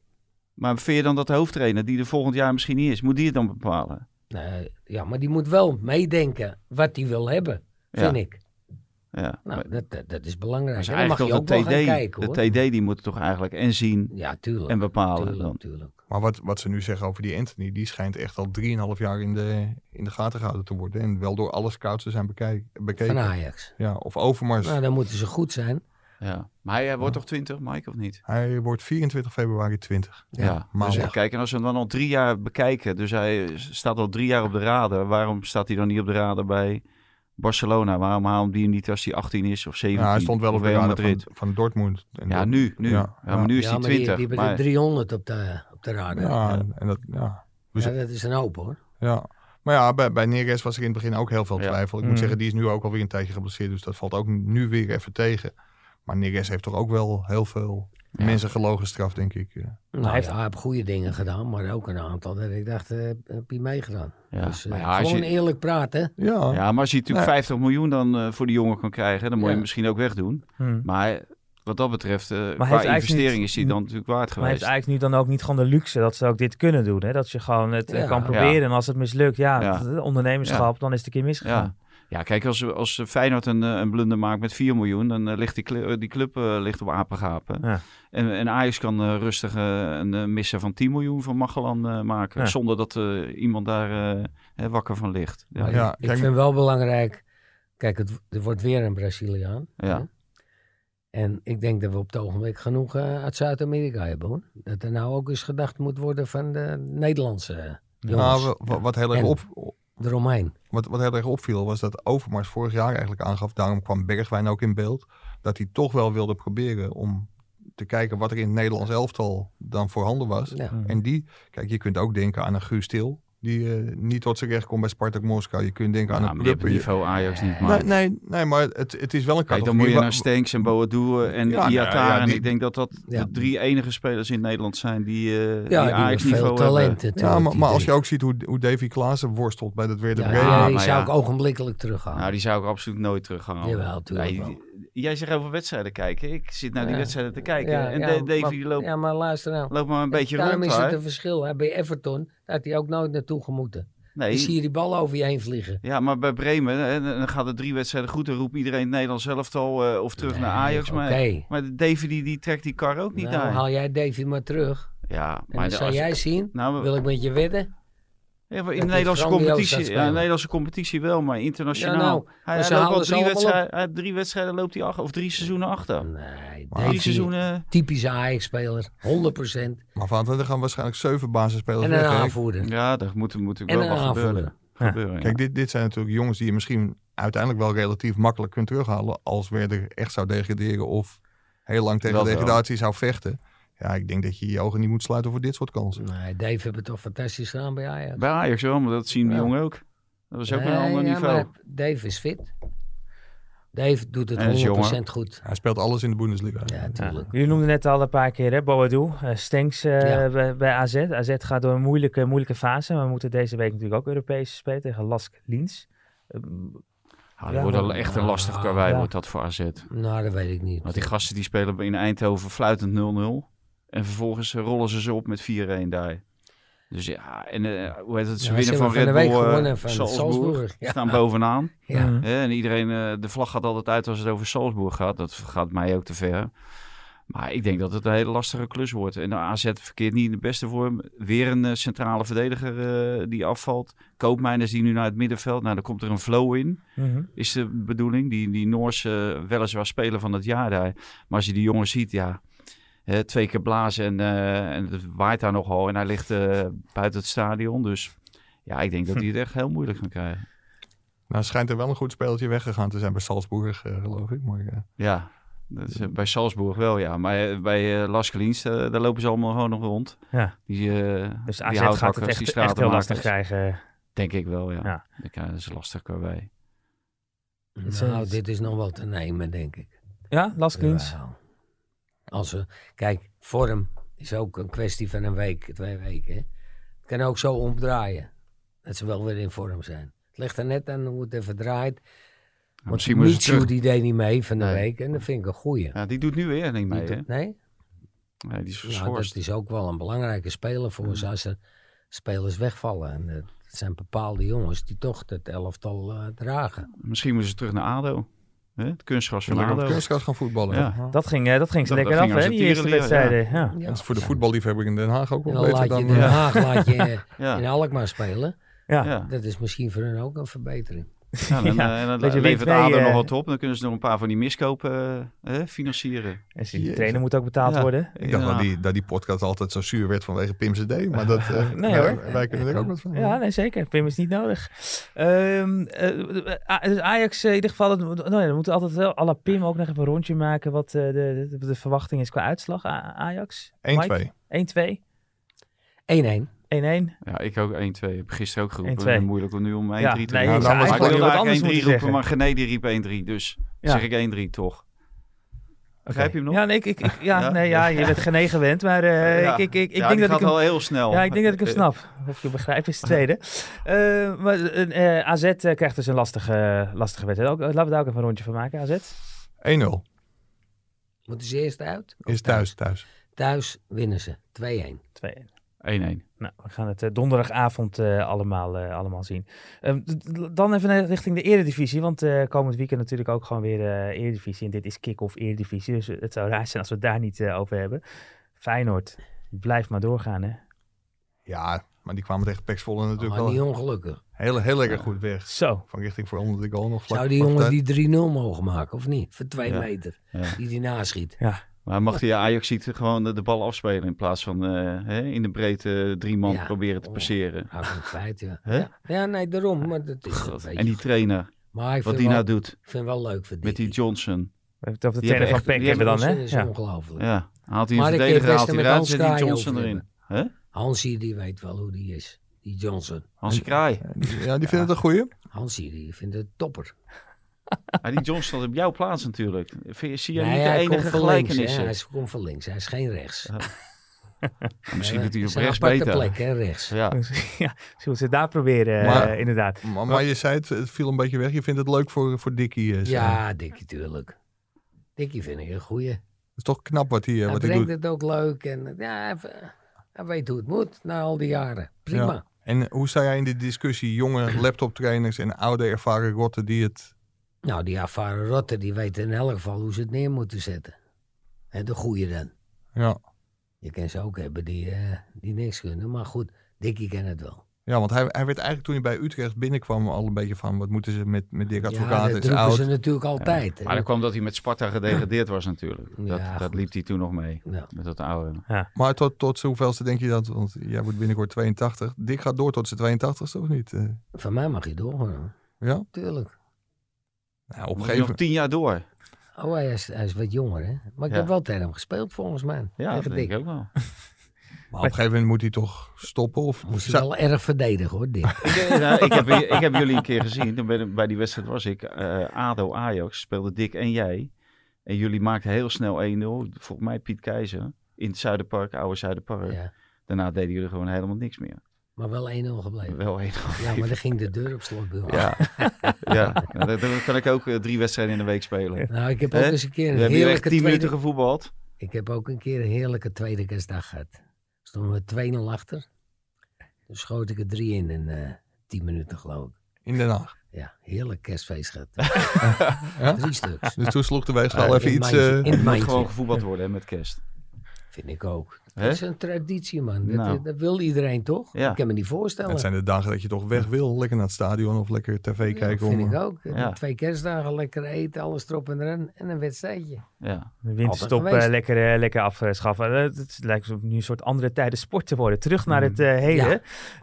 Speaker 4: Maar vind je dan dat de hoofdtrainer, die er volgend jaar misschien niet is, moet die het dan bepalen?
Speaker 3: nee. Ja, maar die moet wel meedenken wat hij wil hebben, vind
Speaker 4: Ja.
Speaker 3: ik.
Speaker 4: Ja. Maar
Speaker 3: Nou, dat, dat, dat is
Speaker 4: dat
Speaker 3: belangrijk.
Speaker 4: is
Speaker 3: En dan mag
Speaker 4: eigenlijk
Speaker 3: je
Speaker 4: toch
Speaker 3: ook
Speaker 4: de
Speaker 3: wel gaan
Speaker 4: TD.
Speaker 3: kijken hoor.
Speaker 4: de TD die moet het toch eigenlijk en zien
Speaker 3: Ja, tuurlijk.
Speaker 4: en bepalen
Speaker 3: tuurlijk,
Speaker 4: dan.
Speaker 3: tuurlijk.
Speaker 5: Maar wat, wat ze nu zeggen over die Anthony, die schijnt echt al 3,5 jaar in de, in de gaten gehouden te worden. En wel door alle scouts te zijn bekijk- bekeken.
Speaker 3: Van Ajax.
Speaker 5: Ja, of
Speaker 4: Dus-
Speaker 5: Overmars.
Speaker 3: Nou, dan moeten ze goed zijn.
Speaker 4: Ja. Maar hij eh, wordt toch 20, Mike, of niet?
Speaker 5: Hij wordt 24 februari 20.
Speaker 4: Ja.
Speaker 5: maar
Speaker 4: dus ja,
Speaker 5: ja.
Speaker 4: kijk, en als we hem dan al drie jaar bekijken, dus hij staat al drie jaar op de radar, waarom staat hij dan niet op de radar bij Barcelona? Waarom haalt die hem niet als hij 18 is of 17?
Speaker 5: Ja, Nou, hij stond wel op
Speaker 4: of
Speaker 5: de
Speaker 4: Real
Speaker 5: radar
Speaker 4: Madrid.
Speaker 5: van, van Dortmund. En
Speaker 4: Ja,
Speaker 5: dat-
Speaker 4: nu, nu. Ja,
Speaker 5: Ja, ja.
Speaker 4: maar nu is
Speaker 3: ja,
Speaker 4: hij
Speaker 3: maar die,
Speaker 4: 20.
Speaker 3: die hebben
Speaker 4: maar-
Speaker 3: er 300 op de, op de radar.
Speaker 5: Ja, en dat, ja. dus-
Speaker 3: Ja, dat is een hoop hoor.
Speaker 5: ja. Maar ja, bij, bij Neres was er in het begin ook heel veel
Speaker 4: Ja.
Speaker 5: twijfel. Ik
Speaker 2: Mm.
Speaker 5: moet zeggen, die is nu ook alweer een tijdje geblesseerd. Dus dat valt ook nu weer even tegen. Maar Neres heeft toch ook wel heel veel mensen gelogen straf, denk ik. eh. Ja.
Speaker 3: Nou, hij
Speaker 2: Hij
Speaker 3: heeft
Speaker 2: heeft-
Speaker 3: hij heeft goede dingen gedaan, maar ook een aantal dat ik dacht, eh, heb je meegedaan?
Speaker 4: Ja,
Speaker 3: Dus, eh,
Speaker 4: maar ja, als
Speaker 3: gewoon
Speaker 4: je-
Speaker 3: eerlijk praten.
Speaker 5: Ja.
Speaker 4: ja, maar als je natuurlijk
Speaker 5: Nee.
Speaker 4: 50 miljoen dan eh, voor die jongen kan krijgen, dan moet je
Speaker 3: Ja.
Speaker 4: hem misschien ook wegdoen.
Speaker 2: Hmm.
Speaker 4: Maar wat dat betreft, eh
Speaker 2: heeft
Speaker 4: qua
Speaker 2: eigenlijk
Speaker 4: investering
Speaker 2: niet-
Speaker 4: is hij dan natuurlijk waard
Speaker 2: Maar heeft
Speaker 4: geweest.
Speaker 2: eigenlijk nu dan ook niet gewoon de luxe dat ze ook dit kunnen doen? Hè? Dat je gewoon het eh,
Speaker 3: Ja.
Speaker 2: kan
Speaker 3: Ja.
Speaker 2: proberen. En als het mislukt, ja,
Speaker 4: Ja.
Speaker 2: het ondernemerschap, dan is het een keer
Speaker 4: Ja.
Speaker 2: misgegaan.
Speaker 4: ja, kijk, als, als Feyenoord een, eh, een blunder maakt met 4 miljoen, dan eh, ligt die, cl- eh, die club eh, ligt op apengapen.
Speaker 2: Ja.
Speaker 4: En, en Ajax kan eh, rustig eh, een eh, misser van 10 miljoen van Magellan eh, maken,
Speaker 2: Ja.
Speaker 4: zonder dat eh, iemand daar eh, hè, wakker van ligt. Ja,
Speaker 3: Maar
Speaker 4: ja.
Speaker 5: ja,
Speaker 3: ik,
Speaker 5: kijk-
Speaker 3: ik vind wel belangrijk, kijk, het, er wordt weer een Braziliaan. En ik denk dat we op het ogenblik genoeg eh, uit Zuid-Amerika hebben hoor. Dat er nou ook eens gedacht moet worden van de Nederlandse eh, jongens
Speaker 5: Nou, wa- wa- wat, heel erg
Speaker 3: En-
Speaker 5: op,
Speaker 3: eromheen.
Speaker 5: Wat, wat heel erg opviel was dat Overmars vorig jaar eigenlijk aangaf, daarom kwam Bergwijn ook in beeld, dat hij toch wel wilde proberen om te kijken wat er in het Nederlands elftal dan voorhanden was.
Speaker 3: Ja.
Speaker 2: Mhm.
Speaker 5: En die, kijk, je kunt ook denken aan een Guus Til, die eh, niet tot zijn recht komt bij Spartak Moskou. Je kunt denken
Speaker 4: Ja,
Speaker 5: aan
Speaker 4: maar
Speaker 5: een
Speaker 4: die hebben
Speaker 5: Prupper.
Speaker 4: niveau Ajax niet, maar...
Speaker 5: Nee, nee, nee, maar het, het is wel een
Speaker 4: Kijk,
Speaker 5: categorie.
Speaker 4: dan moet je
Speaker 5: wa-
Speaker 4: naar Stenks en Boadu en
Speaker 5: Ja, nou ja,
Speaker 4: Iataren.
Speaker 5: die-
Speaker 4: Ik denk dat dat
Speaker 3: Ja.
Speaker 4: de drie enige spelers in Nederland zijn die, eh
Speaker 3: Ja,
Speaker 4: die
Speaker 3: die hebben
Speaker 4: Ajax
Speaker 3: veel
Speaker 4: niveau
Speaker 3: talent
Speaker 5: Ja,
Speaker 3: natuurlijk,
Speaker 5: maar,
Speaker 3: die
Speaker 5: maar als je
Speaker 3: drie.
Speaker 5: ook ziet hoe, hoe Davy Klaassen worstelt bij dat Werder
Speaker 3: Ja,
Speaker 5: Bremen.
Speaker 3: ja,
Speaker 4: Ja,
Speaker 3: die
Speaker 4: maar
Speaker 3: zou
Speaker 4: ja.
Speaker 3: ik ogenblikkelijk terughalen.
Speaker 4: hebben. Nou, die zou ik absoluut nooit terughalen.
Speaker 3: Jawel, tuurlijk wel.
Speaker 4: jij zegt over wedstrijden kijken. Ik zit naar die
Speaker 3: Ja.
Speaker 4: wedstrijden te kijken.
Speaker 3: Ja,
Speaker 4: eh, en
Speaker 3: ja,
Speaker 4: De- Davy
Speaker 3: maar-
Speaker 4: loopt,
Speaker 3: Ja, maar luister nou.
Speaker 4: loopt maar een beetje
Speaker 3: Daarom
Speaker 4: rond.
Speaker 3: is
Speaker 4: daar.
Speaker 3: het een verschil. Hè. Bij Everton daar had hij ook nooit naartoe gemoeten.
Speaker 4: Nee.
Speaker 3: Dan zie je die bal over je heen vliegen.
Speaker 4: Ja, maar bij Bremen hè, dan dan gaat het drie wedstrijden goed. Dan roept iedereen Nederland zelf al eh, of terug naar Ajax.
Speaker 3: Oké.
Speaker 4: Maar, maar Davy die, die trekt die kar ook niet
Speaker 3: Nou,
Speaker 4: daar.
Speaker 3: haal jij Davy maar terug.
Speaker 4: Ja,
Speaker 3: En dat zou
Speaker 4: als-
Speaker 3: jij zien.
Speaker 4: nou, we-
Speaker 3: Wil ik met je wedden?
Speaker 4: Ja, maar in
Speaker 3: Dat
Speaker 4: de
Speaker 3: die
Speaker 4: Nederlandse
Speaker 3: Frank die ook
Speaker 4: competitie,
Speaker 3: gaat
Speaker 4: ja, in
Speaker 3: spelen.
Speaker 4: de Nederlandse competitie wel, maar internationaal.
Speaker 3: Ja, nou,
Speaker 4: hij,
Speaker 3: maar
Speaker 4: hij
Speaker 3: ze
Speaker 4: loopt
Speaker 3: halen
Speaker 4: al
Speaker 3: ze
Speaker 4: drie
Speaker 3: allemaal
Speaker 4: wedstrijden, hij- drie wedstrijden loopt hij achter, of drie seizoenen achter.
Speaker 3: Nee,
Speaker 5: Maar-
Speaker 3: deze
Speaker 4: Drie seizoenen.
Speaker 3: typische Ajax-speler. 100%.
Speaker 5: Maar van, er gaan waarschijnlijk zeven basisspelers
Speaker 3: En een
Speaker 5: weg. hè?
Speaker 3: aanvoerder.
Speaker 4: Ja, dat moet natuurlijk
Speaker 3: En
Speaker 4: wel
Speaker 3: een
Speaker 4: wat gebeuren.
Speaker 3: aanvoerder.
Speaker 4: gebeuren ja.
Speaker 5: Kijk, dit, dit zijn natuurlijk jongens die je misschien uiteindelijk wel relatief makkelijk kunt terughalen. Als Werder echt zou degraderen of heel lang tegen
Speaker 4: Dat wel.
Speaker 5: degradatie zou vechten. Ja, ik denk dat je je ogen niet moet sluiten voor dit soort kansen.
Speaker 3: Nee, Dave hebben het toch fantastisch gedaan bij Ajax.
Speaker 4: Bij Ajax wel, maar dat zien die
Speaker 3: Ja.
Speaker 4: jongen ook. Dat was ook een
Speaker 3: Nee,
Speaker 4: ander
Speaker 3: ja,
Speaker 4: niveau.
Speaker 3: maar Dave is fit. Dave doet het
Speaker 4: En is
Speaker 3: 100%
Speaker 4: jonger.
Speaker 3: goed.
Speaker 5: Hij speelt alles in de Bundesliga.
Speaker 3: Ja, tuurlijk.
Speaker 2: Jullie noemden net al een paar keer hè, Boadou, eh, Stenks eh,
Speaker 3: Ja.
Speaker 2: bij, bij AZ. AZ gaat door een moeilijke, moeilijke fase. Maar we moeten deze week natuurlijk ook Europees spelen tegen Lask Liens.
Speaker 4: Ja, dat
Speaker 2: Ja,
Speaker 4: Ah, wordt al
Speaker 2: maar-
Speaker 4: echt een lastig karwei,
Speaker 2: Ja.
Speaker 4: wordt dat voor AZ.
Speaker 3: Nou, dat weet ik niet.
Speaker 4: Want die gasten die spelen in Eindhoven fluitend 0-0. En vervolgens eh, rollen ze ze op met 4-1 daar. Dus ja, en eh, hoe heet het? Ze
Speaker 3: Ja,
Speaker 4: winnen
Speaker 3: hebben
Speaker 4: van Red
Speaker 3: de week
Speaker 4: Bull eh,
Speaker 3: gewonnen van
Speaker 4: Salzburg.
Speaker 3: Salzburg. Ja.
Speaker 4: Staan bovenaan.
Speaker 3: Ja.
Speaker 2: Mhm.
Speaker 4: Hè, en iedereen, eh, de vlag gaat altijd uit als het over Salzburg gaat. Dat gaat mij ook te ver. Maar ik denk dat het een hele lastige klus wordt. En de AZ verkeert niet in de beste vorm. Weer een eh, centrale verdediger eh, die afvalt. Koopmijners die nu naar het middenveld. Nou, dan komt er een flow in,
Speaker 2: Mhm.
Speaker 4: is de bedoeling. Die, die Noorse, eh, weliswaar speler van het jaar daar. Maar als je die jongen ziet, ja... hè, twee keer blazen en, eh, en het waait daar nogal. En hij ligt eh, buiten het stadion. Dus ja, ik denk dat hij het echt heel moeilijk gaat krijgen.
Speaker 5: Nou, schijnt er wel een goed speeltje weggegaan te zijn bij Salzburg, eh, geloof ik. Maar, eh,
Speaker 4: Ja, dat is, eh, bij Salzburg wel, ja. Maar eh, bij eh Laskeliens, eh, daar lopen ze allemaal gewoon nog rond.
Speaker 2: Ja.
Speaker 4: Die, eh,
Speaker 2: Dus
Speaker 4: die
Speaker 2: AZ gaat het
Speaker 4: houthakkers, die
Speaker 2: echt, echt heel
Speaker 4: stratenmakers.
Speaker 2: lastig krijgen.
Speaker 4: Denk ik wel, ja.
Speaker 2: Ja.
Speaker 4: Ik, eh, dat is lastig bij.
Speaker 3: Nou, dit is nog wel te nemen, denk ik.
Speaker 2: Ja, Lask Liens?
Speaker 3: Jawel. Als we, kijk, vorm is ook een kwestie van een week, twee weken. hè. Het kan ook zo omdraaien. Dat ze wel weer in vorm zijn. Het ligt er net aan hoe het even draait. Want
Speaker 4: misschien moeten ze
Speaker 3: Michu,
Speaker 4: terug-
Speaker 3: die deed niet mee van de
Speaker 4: Nee.
Speaker 3: week. En dat vind ik een goeie.
Speaker 4: Ja, die doet nu weer niet mee, hè?
Speaker 3: nee?
Speaker 4: Nee, die is
Speaker 3: Nou,
Speaker 4: geschorst. Mm.
Speaker 3: dat is ook wel een belangrijke speler voor ons als er spelers wegvallen. En het zijn bepaalde jongens die toch het elftal eh, dragen.
Speaker 4: Misschien moeten ze terug naar ADO. Hè? Het kunstgras van
Speaker 5: lekker op
Speaker 4: ADO.
Speaker 5: kunstgras gaan voetballen.
Speaker 4: Ja.
Speaker 5: Ja.
Speaker 2: Dat ging, eh, dat ging ze
Speaker 4: Dat- dat
Speaker 2: lekker af,
Speaker 4: ging als
Speaker 2: hè,
Speaker 4: een
Speaker 2: die eerste
Speaker 4: tierenlier,
Speaker 2: wedstrijden. Ja.
Speaker 5: Dat is voor de voetballiefhebber in Den Haag ook
Speaker 3: En
Speaker 5: wel
Speaker 3: dan
Speaker 5: beter
Speaker 3: laat je
Speaker 5: dan...
Speaker 3: Den
Speaker 5: eh,
Speaker 3: Haag laat je
Speaker 4: Ja.
Speaker 3: in Alkmaar spelen.
Speaker 2: Ja.
Speaker 4: Ja.
Speaker 3: Dat is misschien voor hen ook een verbetering.
Speaker 4: Ja, dan,
Speaker 2: Ja,
Speaker 4: eh, dan
Speaker 2: beetje
Speaker 4: levert
Speaker 2: win-win,
Speaker 4: ADO
Speaker 2: eh.
Speaker 4: nog wat op. Dan kunnen ze nog een paar van die miskopen eh, eh, financieren.
Speaker 2: En ze- die
Speaker 5: Jezus.
Speaker 2: trainer moet ook betaald
Speaker 4: Ja.
Speaker 2: worden.
Speaker 5: Ik dacht
Speaker 4: Ja.
Speaker 5: dat, die, dat die podcast altijd zo zuur werd vanwege Pim's D. Maar dat, eh,
Speaker 2: Nee,
Speaker 5: wij-
Speaker 2: hoor.
Speaker 5: wij kunnen er ook wat van.
Speaker 2: Ja, nee, zeker. Pim is niet nodig. Ehm, eh, A- dus Ajax eh, in ieder geval, het, moet- nou ja, we moeten altijd wel à la Pim ook nog even een rondje maken wat eh, de, de, de verwachting is qua uitslag A- Ajax.
Speaker 5: 1-2.
Speaker 2: 1-2.
Speaker 3: 1-1.
Speaker 2: 1-1.
Speaker 4: Ja, ik ook 1-2. Heb gisteren ook geroepen.
Speaker 2: 1-2.
Speaker 4: Het is moeilijk om nu om 1-3
Speaker 2: Ja,
Speaker 4: te
Speaker 2: nee,
Speaker 4: roepen.
Speaker 5: ik
Speaker 4: Maar
Speaker 5: zou
Speaker 4: ik
Speaker 5: eigenlijk
Speaker 4: wilde
Speaker 2: wat
Speaker 4: eigenlijk 1-3
Speaker 2: anders
Speaker 4: roepen,
Speaker 2: moeten
Speaker 4: maar Gené die riep 1-3. Dus
Speaker 2: Ja.
Speaker 4: zeg ik 1-3 toch. Begrijp je hem nog?
Speaker 2: Ja, nee, ik, ik, ik- ja,
Speaker 4: Ja?
Speaker 2: nee, ja, je bent genegen gewend, maar eh,
Speaker 4: Ja.
Speaker 2: ik, ik, ik, ik
Speaker 4: Ja,
Speaker 2: denk
Speaker 4: die
Speaker 2: dat
Speaker 4: gaat
Speaker 2: ik hem...
Speaker 4: wel heel snel.
Speaker 2: Ja, ik denk dat ik hem
Speaker 4: Eh,
Speaker 2: snap. Of ik hem begrijp is het tweede. Eh, maar eh, eh, AZ eh, krijgt dus een lastige, lastige wedstrijd. Ook, eh, laten we daar ook even een rondje van maken, AZ.
Speaker 5: 1-0.
Speaker 3: Moeten ze eerst uit? Of
Speaker 5: Is thuis, thuis.
Speaker 3: Thuis winnen ze. 2-1.
Speaker 2: 2
Speaker 4: 1-1.
Speaker 2: Nou, we gaan het eh, donderdagavond eh, allemaal, eh, allemaal zien. Ehm, d- d- dan even naar- richting de Eredivisie. Want eh, komend weekend natuurlijk ook gewoon weer eh, Eredivisie. En dit is kick-off Eredivisie. Dus het zou raar zijn als we het daar niet eh, over hebben. Feyenoord, blijf maar doorgaan, hè?
Speaker 5: Ja, maar die kwamen tegen Pax Volle natuurlijk
Speaker 3: Oh, Maar
Speaker 5: wel
Speaker 3: niet ongelukkig.
Speaker 5: heel, heel erg goed weg.
Speaker 2: Zo.
Speaker 5: Van richting voor onder de goal nog vlak.
Speaker 3: Zou die
Speaker 5: vlak
Speaker 3: jongen
Speaker 5: tijd.
Speaker 3: die 3-0 mogen maken, of niet? Voor 2
Speaker 4: Ja.
Speaker 3: meter.
Speaker 4: Ja.
Speaker 3: Die die naschiet.
Speaker 4: Maar mag die Ajax ziet gewoon eh, de bal afspelen in plaats van eh, hè, in de breedte drie man
Speaker 3: Ja.
Speaker 4: proberen te passeren.
Speaker 3: Hou ik hem kwijt, Nou, ja.
Speaker 4: Hè?
Speaker 3: ja. Ja, nee, daarom. Maar dat is een
Speaker 4: En die
Speaker 3: beetje...
Speaker 4: trainer,
Speaker 3: Maar ik
Speaker 4: wat
Speaker 3: vind,
Speaker 4: die
Speaker 3: wel,
Speaker 4: nou doet
Speaker 3: ik vind wel leuk voor
Speaker 4: met die Johnson.
Speaker 2: We hebben het over de
Speaker 4: Die
Speaker 2: trainer
Speaker 4: hebben eh,
Speaker 2: van
Speaker 4: echt-
Speaker 2: Peck
Speaker 4: die
Speaker 2: hebben dan, hè?
Speaker 3: Johnson is
Speaker 2: Ja.
Speaker 3: ongelooflijk.
Speaker 4: Ja, haalt hij een
Speaker 3: Maar ik keer
Speaker 4: verdediger,
Speaker 3: beste
Speaker 4: haalt hij
Speaker 3: met
Speaker 4: eruit,
Speaker 3: Hans
Speaker 4: zet die
Speaker 3: Kraaij
Speaker 4: Johnson
Speaker 3: over
Speaker 4: erin. Hè?
Speaker 3: Hansie, die weet wel hoe die is. Die Johnson.
Speaker 4: Hansi Kraai.
Speaker 5: Ja, die vinden het een goeie.
Speaker 3: Hansie, die vindt het topper.
Speaker 4: Maar Ah, die Johnson staat op jouw plaats natuurlijk. Vind je- Zie jij
Speaker 3: Nee,
Speaker 4: niet de
Speaker 3: hij
Speaker 4: enige
Speaker 3: komt van links, hè.
Speaker 4: gelijkenissen?
Speaker 3: Hij is- komt van links, hij is geen rechts.
Speaker 4: Misschien
Speaker 3: Eh,
Speaker 4: doet hij
Speaker 3: het is
Speaker 4: op
Speaker 3: een
Speaker 4: rechts
Speaker 3: aparte
Speaker 4: beter.
Speaker 3: plek, hè, rechts.
Speaker 4: Ja.
Speaker 2: ja, zullen we het daar proberen, eh,
Speaker 5: Maar-
Speaker 2: inderdaad.
Speaker 5: Maar, maar je zei het, het viel een beetje weg. Je vindt het leuk voor, voor Dickie.
Speaker 4: dus,
Speaker 5: eh, Stijn.
Speaker 3: Ja, Dikkie, tuurlijk. Dikkie vind ik een goeie.
Speaker 5: Het is toch knap wat hij, eh,
Speaker 3: hij
Speaker 5: wat hij
Speaker 3: brengt
Speaker 5: doet.
Speaker 3: het ook leuk en eh, ja, hij, v- hij weet hoe het moet na al die jaren. Prima.
Speaker 5: Ja. En hoe sta jij in de discussie jonge laptoptrainers en oude ervaren rotten die het...
Speaker 3: Nou, die ervaren rotten, die weten in elk geval hoe ze het neer moeten zetten. En de goeie dan.
Speaker 5: Ja,
Speaker 3: Je kan ze ook hebben die, eh, die niks kunnen. Maar goed, Dickie kan het wel.
Speaker 5: Ja, want hij, hij werd eigenlijk toen hij bij Utrecht binnenkwam al een beetje van... wat moeten ze met, met Dirk
Speaker 3: ja,
Speaker 5: Advocaat,
Speaker 3: dat
Speaker 5: Het is
Speaker 3: drukken
Speaker 5: oud.
Speaker 3: ze natuurlijk altijd.
Speaker 4: Maar dat kwam dat hij met Sparta gedegradeerd was natuurlijk.
Speaker 3: Ja,
Speaker 4: dat, dat
Speaker 3: goed.
Speaker 4: liep hij toen nog mee,
Speaker 3: Ja.
Speaker 4: met dat oude.
Speaker 5: Maar tot, tot zoveelste denk je dat, want jij wordt binnenkort 82. Dick gaat door tot zijn 82ste of niet? Eh,
Speaker 3: Van mij mag je doorgaan, hoor.
Speaker 5: ja?
Speaker 3: tuurlijk.
Speaker 5: Nou, op een
Speaker 4: Nog
Speaker 5: gegeven moment.
Speaker 4: tien jaar door.
Speaker 3: Oh, hij is, hij is wat jonger, hè? Maar ik
Speaker 4: Ja.
Speaker 3: heb wel tegen hem gespeeld, volgens mij.
Speaker 4: Ja,
Speaker 3: Tegen
Speaker 4: dat denk
Speaker 3: Dick.
Speaker 4: ik ook wel.
Speaker 5: Maar op een gegeven moment moet hij toch stoppen? Of
Speaker 3: Moest hij
Speaker 5: zou-
Speaker 3: wel erg verdedigen, hoor, Dick.
Speaker 4: ik, eh, nou, ik, heb, ik heb jullie een keer gezien. Toen ben ik- bij die wedstrijd was ik. eh, Ado Ajax speelde Dick en jij. En jullie maakten heel snel 1-0. Volgens mij Piet Keizer. In het Zuiderpark, oude Zuiderpark.
Speaker 3: ja.
Speaker 4: Daarna deden jullie gewoon helemaal niks meer.
Speaker 3: Maar wel 1-0 gebleven.
Speaker 4: Wel 1
Speaker 3: Ja, maar dan ging de deur op slot. bij ons.
Speaker 4: Ja, ja. Nou, dan, dan kan ik ook eh, drie wedstrijden in de week spelen.
Speaker 3: Nou, ik heb
Speaker 4: Hè?
Speaker 3: ook eens een keer
Speaker 4: We
Speaker 3: een
Speaker 4: hebben hier echt
Speaker 3: heerlijke
Speaker 4: tien minuten
Speaker 3: tweede...
Speaker 4: gevoetbald.
Speaker 3: Ik heb ook een keer een heerlijke tweede kerstdag gehad. Stonden we 2-0 achter. Toen schoot ik er drie in in eh, 10 minuten, geloof ik.
Speaker 5: in Den Haag?
Speaker 3: Ja, heerlijk kerstfeest gehad.
Speaker 5: Ja?
Speaker 3: Drie stuks.
Speaker 5: Dus toen sloeg de weegschaal even
Speaker 3: in
Speaker 5: iets...
Speaker 3: het mandje,
Speaker 5: eh,
Speaker 3: in het
Speaker 4: Moet
Speaker 3: mandje.
Speaker 4: gewoon gevoetbald worden hè, met kerst.
Speaker 3: Vind ik ook.
Speaker 4: Hè?
Speaker 3: Dat is een traditie, man. Dat,
Speaker 4: Nou.
Speaker 3: dat wil iedereen toch?
Speaker 4: Ja.
Speaker 3: Ik kan me niet voorstellen.
Speaker 5: Het zijn de dagen dat je toch weg wil. Lekker naar het stadion of lekker tv
Speaker 3: Ja,
Speaker 5: kijken.
Speaker 3: vind
Speaker 5: om,
Speaker 3: ik ook. Die
Speaker 4: Ja.
Speaker 3: Twee kerstdagen lekker eten, alles erop en eran. En een wedstrijdje.
Speaker 4: Ja.
Speaker 2: De winterstop
Speaker 3: Altijd geweest.
Speaker 2: eh, lekker, eh, lekker afschaffen. Eh, het lijkt op nu een soort andere tijden sport te worden. Terug naar het eh heden.
Speaker 3: Ja.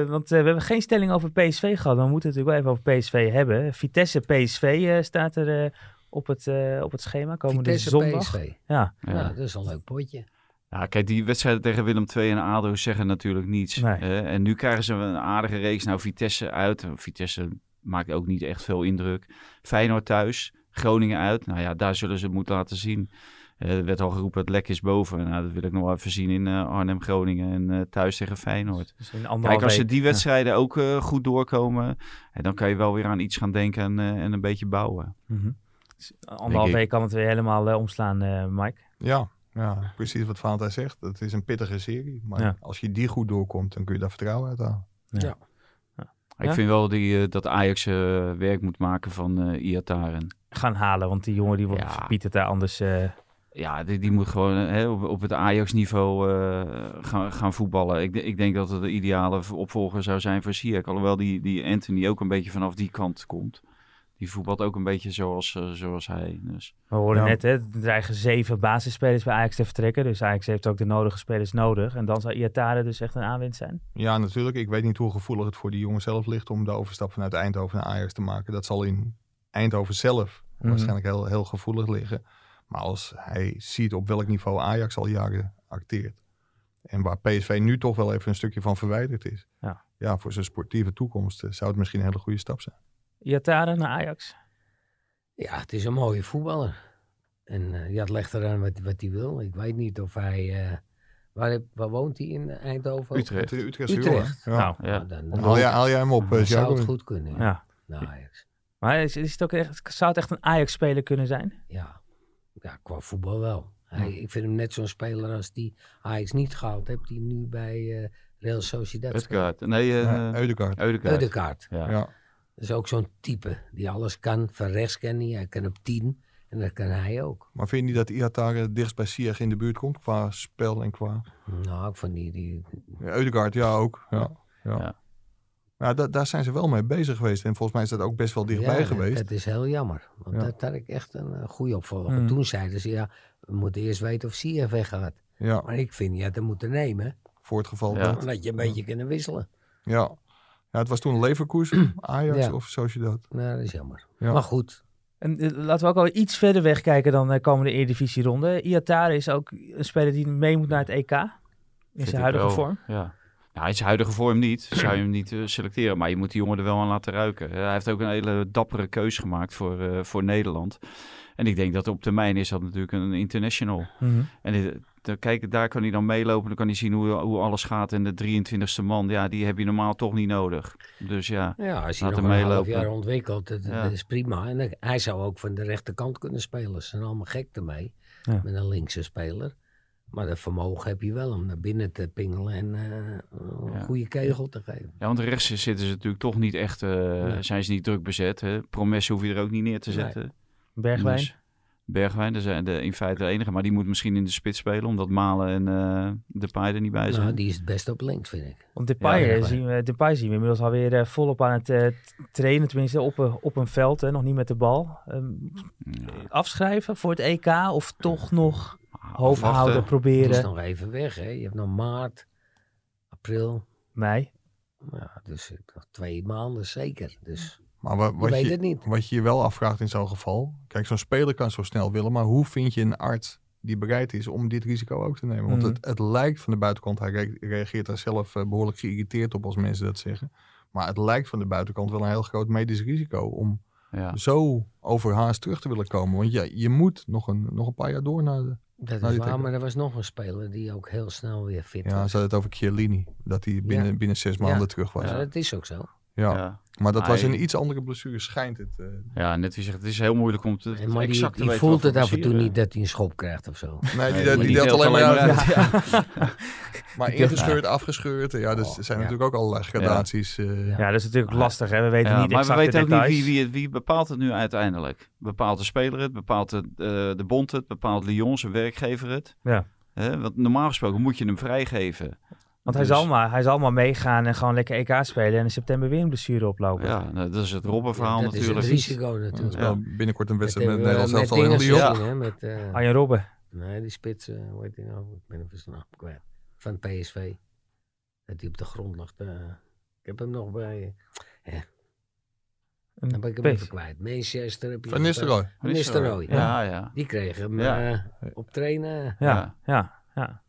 Speaker 2: Eh, want eh, we hebben geen stelling over PSV gehad. Maar we moeten het natuurlijk wel even over PSV hebben. Vitesse PSV eh, staat er eh, op, het, eh, op het schema komende
Speaker 3: Vitesse
Speaker 2: zondag.
Speaker 3: PSV.
Speaker 2: Ja,
Speaker 4: Ja.
Speaker 3: Nou, dat is een leuk potje.
Speaker 4: Ja, kijk, die wedstrijden tegen Willem II en ADO zeggen natuurlijk niets.
Speaker 2: Nee.
Speaker 4: hè. en nu krijgen ze een aardige reeks. Nou, Vitesse uit. Vitesse maakt ook niet echt veel indruk. Feyenoord thuis, Groningen uit. Nou ja, daar zullen ze het moeten laten zien. Eh, er werd al geroepen, het lek is boven. Nou, dat wil ik nog wel even zien in eh, Arnhem-Groningen en eh, thuis tegen Feyenoord.
Speaker 2: dus in anderhalf
Speaker 4: Kijk, als ze
Speaker 2: week.
Speaker 4: die wedstrijden ook eh, goed doorkomen, eh, dan kan je wel weer aan iets gaan denken en, eh, en een beetje bouwen.
Speaker 2: Ja. Mhm. Dus anderhalf
Speaker 4: Denk ik.
Speaker 2: week kan het weer helemaal eh, omslaan, eh, Mike.
Speaker 5: Ja, ja, precies wat Valentijn zegt. Het is een pittige serie. Maar
Speaker 2: Ja.
Speaker 5: als je die goed doorkomt, dan kun je daar vertrouwen uit halen.
Speaker 4: Ik
Speaker 2: Ja?
Speaker 4: vind wel die, eh, dat Ajax eh, werk moet maken van eh Iataren.
Speaker 2: Gaan halen, want die jongen die wordt
Speaker 4: Ja.
Speaker 2: biedt het daar anders. eh,
Speaker 4: Ja, die, die moet gewoon eh, hè, op, op het Ajax-niveau eh, gaan, gaan voetballen. Ik, de- ik denk dat het de ideale v- opvolger zou zijn voor Ziyech. Alhoewel die, die Anthony ook een beetje vanaf die kant komt. Die voetbalt ook een beetje zoals, eh, zoals hij. Dus,
Speaker 2: We hoorden
Speaker 5: Ja.
Speaker 2: net, hè, er dreigen zeven basisspelers bij Ajax te vertrekken. Dus Ajax heeft ook de nodige spelers nodig. En dan zou Iatare dus echt een aanwinst zijn.
Speaker 5: Ja, natuurlijk. Ik weet niet hoe gevoelig het voor die jongen zelf ligt om de overstap vanuit Eindhoven naar Ajax te maken. Dat zal in Eindhoven zelf
Speaker 2: Mhm.
Speaker 5: waarschijnlijk heel, heel gevoelig liggen. Maar als hij ziet op welk niveau Ajax al jaren acteert. En waar PSV nu toch wel even een stukje van verwijderd is.
Speaker 2: Ja.
Speaker 5: voor zijn sportieve toekomst eh, zou het misschien een hele goede stap zijn.
Speaker 2: Iatare naar Ajax.
Speaker 3: Ja, het is een mooie voetballer. En eh ja, het legt eraan wat, wat hij wil. Ik weet niet of hij... eh, waar, waar woont hij in Eindhoven?
Speaker 4: Utrecht.
Speaker 5: Het is Utrecht.
Speaker 3: Utrecht.
Speaker 5: Ja.
Speaker 2: Nou,
Speaker 4: ja.
Speaker 3: Nou, dan,
Speaker 5: Dan
Speaker 3: dan
Speaker 5: haal jij, haal jij hem op, eh,
Speaker 3: zou
Speaker 5: Sjaak.
Speaker 3: het goed kunnen. Ja.
Speaker 2: ja.
Speaker 3: Nou, Ajax.
Speaker 2: Maar is, is het ook echt, zou het echt een Ajax-speler kunnen zijn?
Speaker 3: Ja, ja qua voetbal wel. Hij, Ik vind hem net zo'n speler als die Ajax niet gehaald heeft, die nu bij eh Real Sociedad speelt.
Speaker 4: Utkaart. Nee, eh
Speaker 5: Ja,
Speaker 4: Eudekaart.
Speaker 5: Eudegaard.
Speaker 3: Eudekaart.
Speaker 4: Ja.
Speaker 5: Ja.
Speaker 3: Dat is ook zo'n type die alles kan. Van rechts kan hij, hij kan op tien. En dat kan hij ook.
Speaker 5: Maar vind je niet dat Iatare dichtst bij Sieg in de buurt komt? Qua spel en qua...
Speaker 3: Nou, ik vond die... die
Speaker 5: Ja, Eudegaard, ja ook. Ja. Ja.
Speaker 4: Ja.
Speaker 5: Maar da- daar zijn ze wel mee bezig geweest. En volgens mij is dat ook best wel dichtbij
Speaker 3: ja, dat-
Speaker 5: geweest.
Speaker 3: Dat is heel jammer. Want
Speaker 5: Ja.
Speaker 3: dat had ik echt een eh, goede opvolger.
Speaker 4: Hmm.
Speaker 2: Mm.
Speaker 3: Toen zeiden ze, ja, we moeten eerst weten of Sier weggaat.
Speaker 5: Ja,
Speaker 3: Maar ik vind, ja, dat moeten nemen.
Speaker 5: voor het geval
Speaker 4: Ja.
Speaker 5: dat.
Speaker 3: Omdat je een beetje kunnen wisselen.
Speaker 5: Ja. ja, het was toen Leverkusen, Ajax
Speaker 3: Ja.
Speaker 5: of Sociedad.
Speaker 3: Nou, dat is jammer.
Speaker 5: Ja.
Speaker 3: Maar goed,
Speaker 2: En eh, laten we ook al iets verder wegkijken dan de komende Eredivisie-ronde. Iatare is ook een speler die mee moet naar het EK. In
Speaker 4: Vind ik
Speaker 2: zijn huidige
Speaker 4: wel.
Speaker 2: vorm.
Speaker 4: Ja. Nou, in zijn huidige vorm niet. Zou je hem niet eh, selecteren. Maar je moet die jongen er wel aan laten ruiken. Eh, hij heeft ook een hele dappere keus gemaakt voor, eh, voor Nederland. En ik denk dat op termijn is dat natuurlijk een international.
Speaker 2: Mhm.
Speaker 4: En dit- dan kijk, daar kan hij dan meelopen. Dan kan hij zien hoe, hoe alles gaat. En de 23e man, ja, die heb je normaal toch niet nodig. Dus ja,
Speaker 3: Ja, als hij
Speaker 4: Laat
Speaker 3: nog
Speaker 4: hem
Speaker 3: een half
Speaker 4: meelopen.
Speaker 3: jaar ontwikkelt, dat, dat
Speaker 4: Ja.
Speaker 3: is prima. En hij- hij zou ook van de rechterkant kunnen spelen. Ze zijn allemaal gek ermee,
Speaker 2: Ja.
Speaker 3: met een linkse speler. Maar dat vermogen heb je wel om naar binnen te pingelen en eh, een
Speaker 4: Ja.
Speaker 3: goede kegel te geven.
Speaker 4: ja want rechts zitten ze natuurlijk toch niet echt, eh,
Speaker 3: Nee.
Speaker 4: zijn ze niet druk bezet. Hè? Promes hoef je er ook niet neer te
Speaker 3: Nee.
Speaker 4: zetten.
Speaker 2: Bergwijn.
Speaker 4: Dus- Bergwijn, dat zijn de, in feite de enige. Maar die moet misschien in de spits spelen, omdat Malen en eh Depay er niet bij zijn.
Speaker 3: Nou, die is het best op links, vind ik.
Speaker 2: Want Depay,
Speaker 3: Ja,
Speaker 2: eh,
Speaker 3: echt waar.
Speaker 2: zien we, Depay zien we inmiddels alweer eh, volop aan het eh, trainen. Tenminste, op, een- op een veld, hè, nog niet met de bal. Ehm, Afschrijven voor het EK of toch nog hoofdhouden
Speaker 4: Afwachten.
Speaker 3: Die is
Speaker 2: proberen?
Speaker 3: nog Dus even weg, hè. Je hebt nog maart, april.
Speaker 2: Nee.
Speaker 3: Ja, dus eh, nog twee maanden zeker. Dus
Speaker 5: Maar wa-
Speaker 3: je
Speaker 5: wat,
Speaker 3: weet
Speaker 5: je,
Speaker 3: het niet.
Speaker 5: wat je je wel afvraagt in zo'n geval. Kijk, zo'n speler kan zo snel willen. Maar hoe vind je een arts die bereid is om dit risico ook te nemen? Want
Speaker 2: Mhm.
Speaker 5: het, het lijkt van de buitenkant, hij re- reageert daar zelf eh, behoorlijk geïrriteerd op als mensen dat zeggen. Maar het lijkt van de buitenkant wel een heel groot medisch risico om
Speaker 3: Dus
Speaker 4: Ja.
Speaker 5: zo overhaast terug te willen komen. Want ja, je moet nog een, nog een paar jaar door naar de...
Speaker 3: Dat
Speaker 5: Nou,
Speaker 3: is
Speaker 5: die
Speaker 3: waar,
Speaker 5: trekken.
Speaker 3: maar er was nog een speler die ook heel snel weer fit
Speaker 5: Ja,
Speaker 3: was.
Speaker 5: ze hadden het over Chiellini. Dat hij binnen, binnen zes maanden terug was.
Speaker 3: Ja,
Speaker 5: Ja,
Speaker 3: dat is ook zo.
Speaker 4: Ja.
Speaker 5: maar dat was
Speaker 4: Hij-
Speaker 5: een iets andere blessure, schijnt het. eh.
Speaker 4: Ja, net wie zegt, het is heel moeilijk om te
Speaker 3: En maar die,
Speaker 4: exact te
Speaker 3: die
Speaker 4: weten
Speaker 3: voelt
Speaker 4: wat
Speaker 3: het
Speaker 4: voor
Speaker 3: af en toe
Speaker 4: blessure.
Speaker 3: niet dat hij een schop krijgt of zo.
Speaker 5: Nee, die,
Speaker 4: Nee,
Speaker 5: die
Speaker 4: die
Speaker 5: deelt alleen maar uit.
Speaker 4: uit.
Speaker 5: Maar
Speaker 3: deelt
Speaker 5: ingescheurd, afgescheurd. Ja, dus
Speaker 3: Oh,
Speaker 5: er zijn
Speaker 3: ja.
Speaker 5: natuurlijk ook allerlei gradaties. eh.
Speaker 2: Ja, dat is natuurlijk lastig. Hè? We weten
Speaker 4: Ja,
Speaker 2: niet
Speaker 4: maar we
Speaker 2: exact
Speaker 4: weten
Speaker 2: de
Speaker 4: ook niet
Speaker 2: details.
Speaker 4: wie, wie, het- wie bepaalt het nu uiteindelijk. Bepaalt de speler het, bepaalt de, eh, de bond het, bepaalt Lyon zijn werkgever het.
Speaker 2: Ja.
Speaker 4: Hè, want normaal gesproken moet je hem vrijgeven.
Speaker 2: Want hij,
Speaker 4: Dus-
Speaker 2: zal maar, hij zal maar meegaan en gewoon lekker EK spelen. En in september weer een blessure oplopen.
Speaker 4: Ja, nou, dat is het Robben-verhaal
Speaker 3: dat
Speaker 4: natuurlijk.
Speaker 3: is het risico
Speaker 5: Dat is
Speaker 3: natuurlijk.
Speaker 5: wel binnenkort een
Speaker 3: Dat
Speaker 5: wedstrijd met
Speaker 3: hebben we
Speaker 5: Nederland zelf al in
Speaker 3: dingen
Speaker 5: Lyon.
Speaker 3: gezien, hè, met, eh,
Speaker 2: Arjen Robben.
Speaker 3: Nee, die spits, eh, hoe heet die nou? Ik ben hem dus nog kwijt. Van PSV. Dat hij op de grond lag. eh, ik heb hem nog bij...
Speaker 2: Een
Speaker 3: Dan ben ik hem
Speaker 2: pees.
Speaker 3: even kwijt. Manchester heb je
Speaker 5: Van
Speaker 3: gespeeld.
Speaker 5: Nistelrooy.
Speaker 3: Van Nistelrooy.
Speaker 4: Ja, ja.
Speaker 3: Die kreeg hem
Speaker 4: Ja.
Speaker 3: eh, op trainen.
Speaker 2: Ja,
Speaker 4: Ja.
Speaker 2: ja. ja, ja.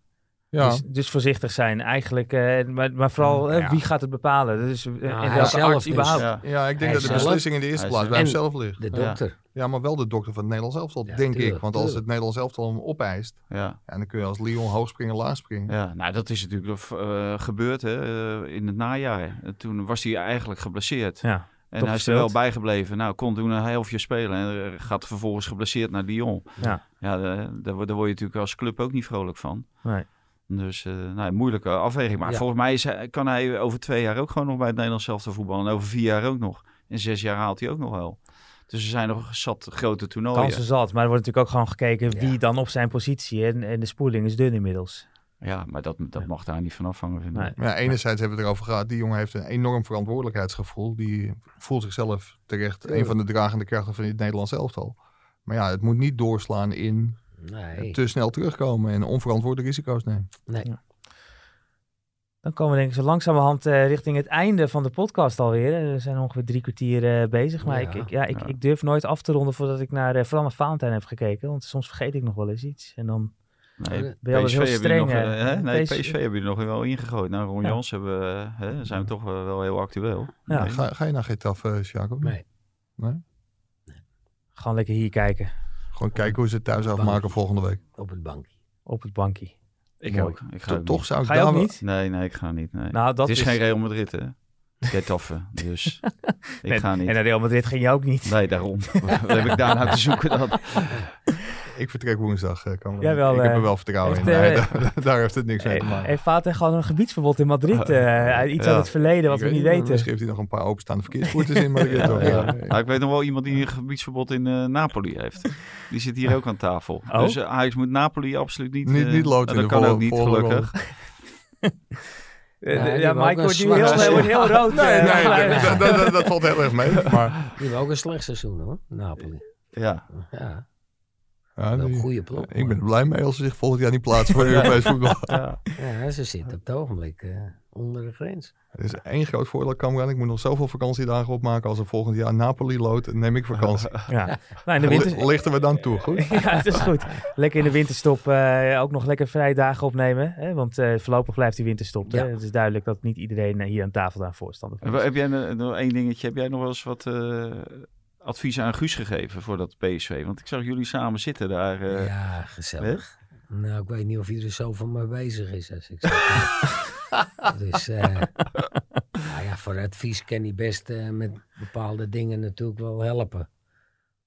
Speaker 5: Ja.
Speaker 2: Dus, dus voorzichtig zijn eigenlijk. eh, maar, maar vooral, eh,
Speaker 5: Ja.
Speaker 2: wie gaat het bepalen? Dus, eh, en
Speaker 3: hij
Speaker 2: welke
Speaker 3: zelf
Speaker 2: arts
Speaker 3: dus.
Speaker 2: überhaupt?
Speaker 4: Ja.
Speaker 5: ja, ik
Speaker 3: Hij
Speaker 5: denk dat de
Speaker 3: zelf-
Speaker 5: beslissing in de eerste
Speaker 4: hij
Speaker 5: plaats bij
Speaker 3: zelf-
Speaker 5: hemzelf ligt.
Speaker 3: De
Speaker 4: Ja.
Speaker 3: dokter.
Speaker 5: Ja, maar wel de dokter van het Nederlands elftal,
Speaker 3: Ja,
Speaker 5: denk ik.
Speaker 3: tuurlijk,
Speaker 5: Want als het
Speaker 3: tuurlijk.
Speaker 5: Nederlands elftal hem opeist,
Speaker 4: ja.
Speaker 5: ja, dan kun je als Lyon hoog springen, laag springen.
Speaker 4: Ja, nou dat is natuurlijk eh, gebeurd hè, eh, in het najaar. Eh, Toen was hij eigenlijk geblesseerd.
Speaker 2: Ja.
Speaker 4: en
Speaker 2: toch
Speaker 4: hij is er wel
Speaker 2: gespeeld.
Speaker 4: bijgebleven. Nou, kon toen een half jaar spelen en eh, gaat vervolgens geblesseerd naar Lyon.
Speaker 2: Ja.
Speaker 4: Ja, eh, daar, word- daar word je natuurlijk als club ook niet vrolijk van.
Speaker 2: Nee.
Speaker 4: Dus eh nou, een moeilijke afweging. Maar
Speaker 3: Ja.
Speaker 4: volgens mij is hij- kan hij over twee jaar ook gewoon nog bij het Nederlands zelf te voetballen. En over vier jaar ook nog. En zes jaar haalt hij ook nog wel. Dus er zijn nog zat grote toernooien.
Speaker 2: Kansen zat, maar er wordt natuurlijk ook gewoon gekeken
Speaker 3: Ja.
Speaker 2: wie dan op zijn positie. En, en de spoeling is dun inmiddels.
Speaker 4: Ja, maar dat, dat mag daar niet van afhangen. Vind ik.
Speaker 2: Nee.
Speaker 5: Maar ja, enerzijds hebben we het erover gehad. Die jongen heeft een enorm verantwoordelijkheidsgevoel. Die voelt zichzelf terecht een
Speaker 3: Tuurlijk.
Speaker 5: van de dragende krachten van het Nederlands elftal. Maar ja, het moet niet doorslaan in
Speaker 3: Nee.
Speaker 5: te snel terugkomen en onverantwoorde risico's nemen.
Speaker 2: Dan komen we denk ik zo langzamerhand eh, richting het einde van de podcast alweer. Eh, We zijn ongeveer drie kwartier eh, bezig. Maar
Speaker 3: Ja,
Speaker 2: ik, ik, ja, ik,
Speaker 4: ja.
Speaker 2: ik durf nooit af te ronden voordat ik naar, eh, vooral naar Valentijn heb gekeken. Want soms vergeet ik nog wel eens iets. En dan
Speaker 3: Eh,
Speaker 2: ben
Speaker 4: Nee,
Speaker 2: je altijd heel
Speaker 4: hebben
Speaker 2: streng.
Speaker 4: jullie nog,
Speaker 2: hè?
Speaker 4: eh, hè? Nee,
Speaker 2: PSV
Speaker 4: PSV hebben jullie nog wel ingegooid. Nou, Ron
Speaker 2: Ja.
Speaker 4: Jans hebben, eh, hè, zijn we toch eh, wel heel actueel.
Speaker 2: Ja.
Speaker 4: Nee.
Speaker 5: Ga, ga je naar Getafe, eh, Jacob?
Speaker 3: Nee.
Speaker 2: Gewoon lekker hier kijken,
Speaker 5: Gewoon kijken hoe ze het thuis afmaken volgende week.
Speaker 3: Op het bankje.
Speaker 2: op het bankje.
Speaker 4: Ik
Speaker 5: Mooi.
Speaker 4: ook. Ik ga
Speaker 5: To-
Speaker 4: ook
Speaker 5: toch zou ik
Speaker 2: Ga je ook
Speaker 5: daar wel-
Speaker 2: niet?
Speaker 4: niet. Nee, nee, ik ga niet. Nee.
Speaker 2: Nou, dat
Speaker 4: het is, geen Real Madrid, hè? Getafe, dus ik
Speaker 2: Nee,
Speaker 4: ga niet.
Speaker 2: En eh, naar Real Madrid ging je ook niet.
Speaker 4: Nee, daarom. Wat heb ik daarna te zoeken dan?
Speaker 5: Ik vertrek woensdag. eh, Cameron.
Speaker 2: Jawel,
Speaker 5: ik heb
Speaker 2: eh,
Speaker 5: er wel vertrouwen
Speaker 2: echt,
Speaker 5: in. Nee,
Speaker 2: eh,
Speaker 5: daar, daar heeft het niks mee te maken.
Speaker 2: Heeft Vaten gewoon een gebiedsverbod in Madrid? eh, uit iets
Speaker 4: Oh, Ja.
Speaker 2: uit het verleden wat
Speaker 5: Ik
Speaker 2: we
Speaker 5: weet
Speaker 2: niet
Speaker 5: niet,
Speaker 2: weten.
Speaker 5: Misschien heeft hij nog een paar openstaande verkeersboetes in. Maar ik weet het ook,
Speaker 4: Ja.
Speaker 5: ja.
Speaker 4: Nou, ik weet nog wel iemand die een gebiedsverbod in eh, Napoli heeft. Die zit hier ook aan tafel.
Speaker 2: Oh?
Speaker 4: Dus eh, Ajax moet Napoli absoluut niet...
Speaker 5: Niet-
Speaker 4: eh,
Speaker 5: niet loten
Speaker 4: nou, Dat
Speaker 5: in de
Speaker 4: kan
Speaker 5: volle-
Speaker 4: ook niet,
Speaker 5: volle ronde.
Speaker 4: gelukkig.
Speaker 2: Eh,
Speaker 3: Ja, die
Speaker 2: ja,
Speaker 3: hebben ook
Speaker 2: Mike wordt
Speaker 3: een
Speaker 2: nu heel,
Speaker 3: zwak
Speaker 2: hij wordt heel rood.
Speaker 5: Nee,
Speaker 2: eh,
Speaker 5: nee,
Speaker 2: maar-
Speaker 5: dat, dat, dat, dat valt heel erg mee. Maar
Speaker 3: Die hebben ook een slecht seizoen hoor. Napoli.
Speaker 4: Ja,
Speaker 3: Ja,
Speaker 5: ja,
Speaker 2: Nou,
Speaker 3: wel een
Speaker 5: die-
Speaker 3: goede ploeg.
Speaker 5: ik ben
Speaker 3: maar-
Speaker 5: er blij mee als ze zich volgend jaar niet plaatsen voor Europees voetbal.
Speaker 4: ja.
Speaker 3: Ja, ze zitten op het ogenblik eh, onder de grens.
Speaker 5: Er is één groot voordeel, Cameron. Ik moet nog zoveel vakantiedagen opmaken. Als er volgend jaar Napoli loodt, dan neem ik vakantie.
Speaker 2: Ja. Nou, in de winter,
Speaker 5: Li- Lichten we dan toe, goed?
Speaker 2: Ja, het is goed. Lekker in de winterstop eh, ook nog lekker vrije dagen opnemen. Hè? Want eh, voorlopig blijft die winterstop.
Speaker 3: Ja.
Speaker 2: Hè? Het is duidelijk dat niet iedereen eh, hier aan tafel daar voorstander
Speaker 4: En
Speaker 2: van
Speaker 4: wa-
Speaker 2: is.
Speaker 4: Heb jij een- nog één dingetje? Heb jij nog wel eens wat eh, advies aan Guus gegeven voor dat PSV? Want ik zag jullie samen zitten daar. eh,
Speaker 3: ja, gezellig. Nou, ik weet niet of iedereen zo van mij bezig is als ik zo kijk. Dus, eh nou ja, voor advies kan hij best eh, met bepaalde dingen natuurlijk wel helpen.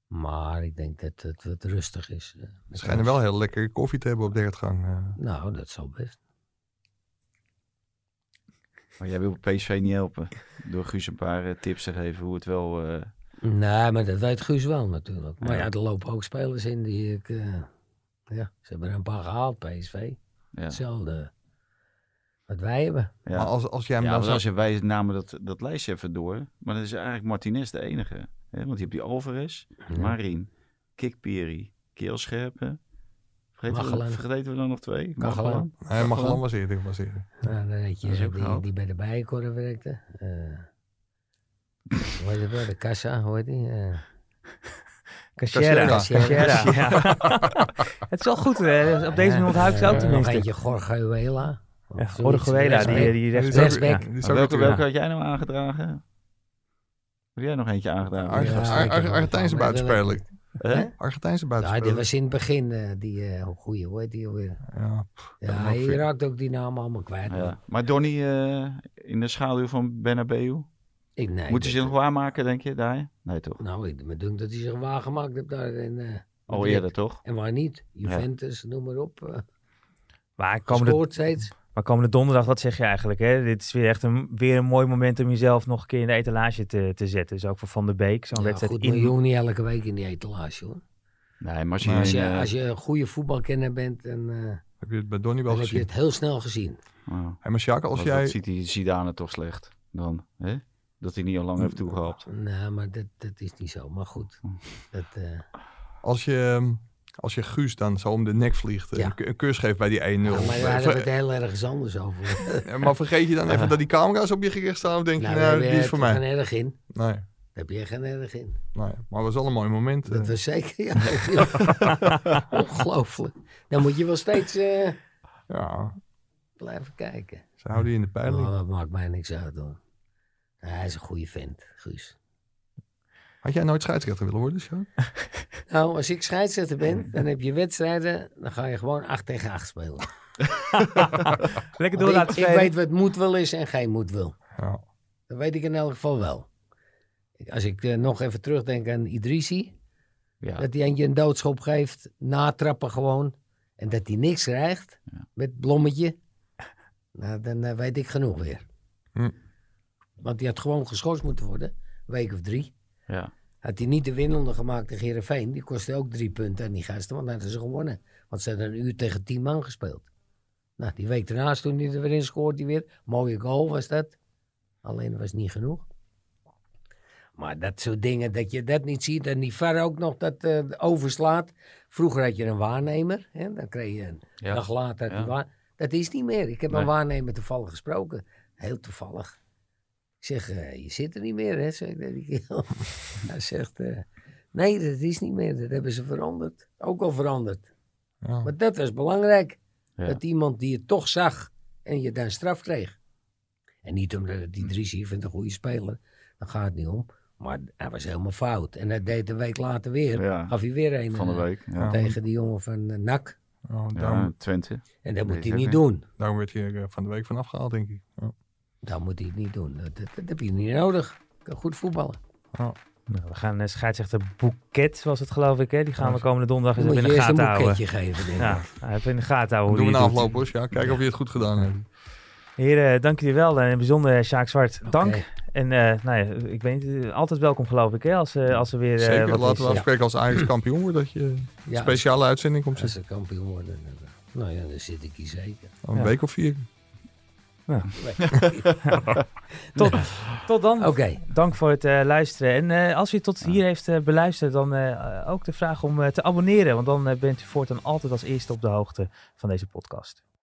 Speaker 3: Maar ik denk dat het wat rustig is. eh,
Speaker 5: Ze
Speaker 3: met
Speaker 5: schijnen
Speaker 3: ons.
Speaker 5: wel heel lekker koffie te hebben op de hertgang. eh.
Speaker 3: Nou, dat zal best.
Speaker 4: Maar jij wil PSV niet helpen door Guus een paar eh, tips te geven hoe het wel eh,
Speaker 3: Nee, maar dat weet Guus wel natuurlijk. Maar
Speaker 4: Ja.
Speaker 3: ja, er lopen ook spelers in die ik... eh, ja, ze hebben er een paar gehaald, PSV.
Speaker 4: Ja.
Speaker 3: Hetzelfde wat wij hebben.
Speaker 4: Ja.
Speaker 5: Maar als, als jij
Speaker 4: Ja,
Speaker 5: hem dan
Speaker 4: want
Speaker 5: zou-
Speaker 4: als je, wij namen dat, dat lijstje even door. Maar dan is eigenlijk Martinez de enige. Hè? Want je hebt die Alvarez,
Speaker 3: Ja.
Speaker 4: Marin, Kikpiri, Keelscherpen. Vergeten we,
Speaker 3: Magellan.
Speaker 4: vergeten we dan nog twee?
Speaker 3: Magellan.
Speaker 5: Nee, mag wel was eerder. Was eerder.
Speaker 3: Nou, dan had je
Speaker 4: Dat is ook
Speaker 3: die,
Speaker 4: gehaald.
Speaker 3: die bij de bijenkorf werkte. eh hoe heet het wel? De kassa, hoe heet die? Eh,
Speaker 2: Cachera.
Speaker 3: Cachera.
Speaker 2: Cachera, ja. Het is wel goed, hè. op deze
Speaker 3: ja,
Speaker 2: manier onthoud ik ze ook
Speaker 3: eh, Nog
Speaker 2: tenminste.
Speaker 3: eentje Gorguela. of
Speaker 2: Ja,
Speaker 3: zoiets.
Speaker 2: Orguela, die, die
Speaker 3: Rechtsback.
Speaker 2: rechts...
Speaker 3: Rechtsback.
Speaker 5: Die
Speaker 4: Maar
Speaker 5: zou ik
Speaker 4: welke, welke
Speaker 5: natuurlijk-
Speaker 4: had jij nou aangedragen? Heb jij nog eentje aangedragen?
Speaker 5: Ar-
Speaker 3: Ja,
Speaker 5: Ar-
Speaker 3: ik
Speaker 5: Ar-
Speaker 3: heb-
Speaker 5: Argentijnse buitenspeler.
Speaker 4: Hè?
Speaker 3: Hè?
Speaker 5: Argentijnse
Speaker 3: Ja, dit
Speaker 5: buitenspeler.
Speaker 3: Nou, was in het begin eh, die eh, goeie, hoe heet die alweer?
Speaker 5: Ja, pff, dat
Speaker 3: Ja,
Speaker 5: mag
Speaker 3: je
Speaker 5: veel.
Speaker 3: raakt ook die naam allemaal kwijt.
Speaker 4: Ja. Maar Donny eh, in de schaduw van Bernabeu.
Speaker 3: Ik, nee,
Speaker 4: Moeten ze
Speaker 3: dat-
Speaker 4: zich nog waarmaken, denk je, daar? Nee, toch?
Speaker 3: Nou, ik me denk dat hij zich waargemaakt heeft daar. En, eh,
Speaker 4: Al
Speaker 3: Madrid.
Speaker 4: eerder, toch?
Speaker 3: En waar niet? Juventus, noem maar op. eh,
Speaker 2: Maar komende,
Speaker 3: Gescoord steeds.
Speaker 2: maar komende donderdag, wat zeg je eigenlijk? Hè? Dit is weer echt een, weer een mooi moment om jezelf nog een keer in de etalage te, te zetten. Dus ook voor Van der Beek, zo'n
Speaker 3: Ja,
Speaker 2: wedstrijd
Speaker 3: goed,
Speaker 2: in...
Speaker 3: maar je hoeft niet elke week in die etalage hoor.
Speaker 4: Nee, maar als je...
Speaker 5: Maar
Speaker 3: Als je,
Speaker 4: eh,
Speaker 3: als je een goede voetbalkenner bent, dan, eh,
Speaker 5: Heb je het bij Donny wel
Speaker 3: dan heb je
Speaker 5: gezien?
Speaker 3: het heel snel gezien.
Speaker 4: oh.
Speaker 5: Hey, maar Sjaak, als
Speaker 4: Als Dat
Speaker 5: jij...
Speaker 4: ziet die Zidane toch slecht dan, hè? Dat hij niet al lang heeft toegehaald.
Speaker 3: Nou, maar dat, dat is niet zo. Maar goed. Dat, eh,
Speaker 5: Als je, ehm, als je Guus dan zo om de nek vliegt, eh,
Speaker 3: Ja.
Speaker 5: een ku- een kus geeft bij die 1-0.
Speaker 3: ja, maar daar
Speaker 5: Ver-
Speaker 3: hadden we het heel ergens anders over. Nou,
Speaker 5: Ja, maar vergeet je dan even dat die camera's op je gericht staan? Of denk je, nou, die is voor
Speaker 3: Daar heb
Speaker 5: mij?
Speaker 3: je geen erg in.
Speaker 5: Nee,
Speaker 3: Daar heb je geen erg in.
Speaker 5: nee, maar het was wel een mooi moment. eh.
Speaker 3: Dat was zeker, ja. Ongelooflijk. Dan moet je wel steeds eh,
Speaker 5: Ja,
Speaker 3: blijven kijken.
Speaker 5: ze houden je in de peiling.
Speaker 3: Maar dat maakt mij niks uit hoor. Hij is een goede vent, Guus.
Speaker 5: Had jij nooit scheidsrechter willen worden, Sjaak?
Speaker 3: Nou, als ik scheidsrechter ben, dan heb je wedstrijden, dan ga je gewoon 8 tegen 8 spelen.
Speaker 2: Lekker door
Speaker 3: Want
Speaker 2: laten
Speaker 3: ik, ik
Speaker 2: spelen.
Speaker 3: weet wat moet wel is en geen moet wil.
Speaker 5: Ja.
Speaker 3: Dat weet ik in elk geval wel. Ik- Als ik eh, nog even terugdenk aan Idrisi.
Speaker 4: Ja.
Speaker 3: Dat hij eentje een doodschop geeft, natrappen gewoon. En dat hij niks krijgt met blommetje. Nou, dan eh, weet ik genoeg weer.
Speaker 5: Hm.
Speaker 3: Want die had gewoon geschorst moeten worden. Een week of drie.
Speaker 4: Ja.
Speaker 3: Had hij niet de winnende gemaakt tegen Heerenveen. Die kostte ook drie punten aan die gasten. Want dan hadden ze gewonnen. Want ze hadden een uur tegen tien man gespeeld. Nou, die week daarnaast toen hij er weer in scoort hij weer. Mooie goal was dat. Alleen was het niet genoeg. Maar dat soort dingen, dat je dat niet ziet. En die VAR ook nog dat eh, overslaat. Vroeger had je een waarnemer. Hè? Dan kreeg je een
Speaker 4: Ja.
Speaker 3: dag later. die
Speaker 4: Ja.
Speaker 3: waar- Dat is niet meer. Ik heb
Speaker 4: Nee.
Speaker 3: een waarnemer toevallig gesproken. Heel toevallig. Ik zeg, eh, je zit er niet meer, hè? Zeg ik tegen die kerel. Hij zegt, eh, nee, dat is niet meer. Dat hebben ze veranderd. Ook al veranderd.
Speaker 5: Ja.
Speaker 3: Maar dat was belangrijk.
Speaker 4: Ja.
Speaker 3: Dat iemand die het toch zag en je daar straf kreeg. En niet omdat het die drie vindt een goede speler. Daar gaat het niet om. Maar hij was helemaal fout. En hij deed een week later weer.
Speaker 4: Ja.
Speaker 3: Gaf hij weer een
Speaker 4: Van de
Speaker 3: eh,
Speaker 4: week. Ja.
Speaker 5: Ja.
Speaker 3: tegen die jongen van eh, NAC.
Speaker 5: Ja, daarom,
Speaker 4: Ja, Twente.
Speaker 3: En dat
Speaker 4: Nee,
Speaker 3: moet hij
Speaker 4: dat
Speaker 3: niet
Speaker 4: niet.
Speaker 3: doen.
Speaker 5: daarom Nou, werd je er van de week van afgehaald, denk ik. Ja.
Speaker 3: Dat moet hij niet doen. Dat, dat- dat heb je niet nodig. Je kan goed voetballen.
Speaker 2: Nou, we gaan eh, scheidsrechter Boeket, was het geloof ik. Hè? Die gaan we komende donderdag
Speaker 3: Dan
Speaker 2: eens
Speaker 3: moet
Speaker 2: even
Speaker 3: je
Speaker 2: in
Speaker 3: eerst
Speaker 2: de
Speaker 3: een
Speaker 2: gaten houden.
Speaker 3: boeketje geven, denk ik.
Speaker 2: Ja, even in de gaten houden.
Speaker 5: Doe
Speaker 2: hoe
Speaker 5: we
Speaker 2: die
Speaker 5: na
Speaker 2: het doet.
Speaker 5: afloop, hoor, Sjaak. Kijken of je het goed gedaan hebt.
Speaker 2: Heren, eh, dank jullie wel. En in het bijzonder eh, Sjaak Zwart, dank.
Speaker 3: Oké.
Speaker 2: En eh, nou ja, ik weet niet, eh, altijd welkom geloof ik, hè, als, eh, als er weer eh,
Speaker 5: Zeker,
Speaker 2: wat
Speaker 5: laten we
Speaker 2: is.
Speaker 3: ja.
Speaker 5: afspreken als Ajax kampioen wordt, dat je een
Speaker 3: Ja,
Speaker 5: speciale uitzending komt
Speaker 3: als
Speaker 5: zitten.
Speaker 3: ze kampioen worden. dan- Nou ja, dan zit ik hier zeker.
Speaker 5: Een
Speaker 2: Ja.
Speaker 5: week of vier.
Speaker 3: Oké,
Speaker 2: Tot, tot dan. Dank voor het eh, luisteren. En eh, als u tot hier heeft eh, beluisterd, dan eh, eh, ook de vraag om eh, te abonneren. Want dan eh, bent u voortaan altijd als eerste op de hoogte van deze podcast.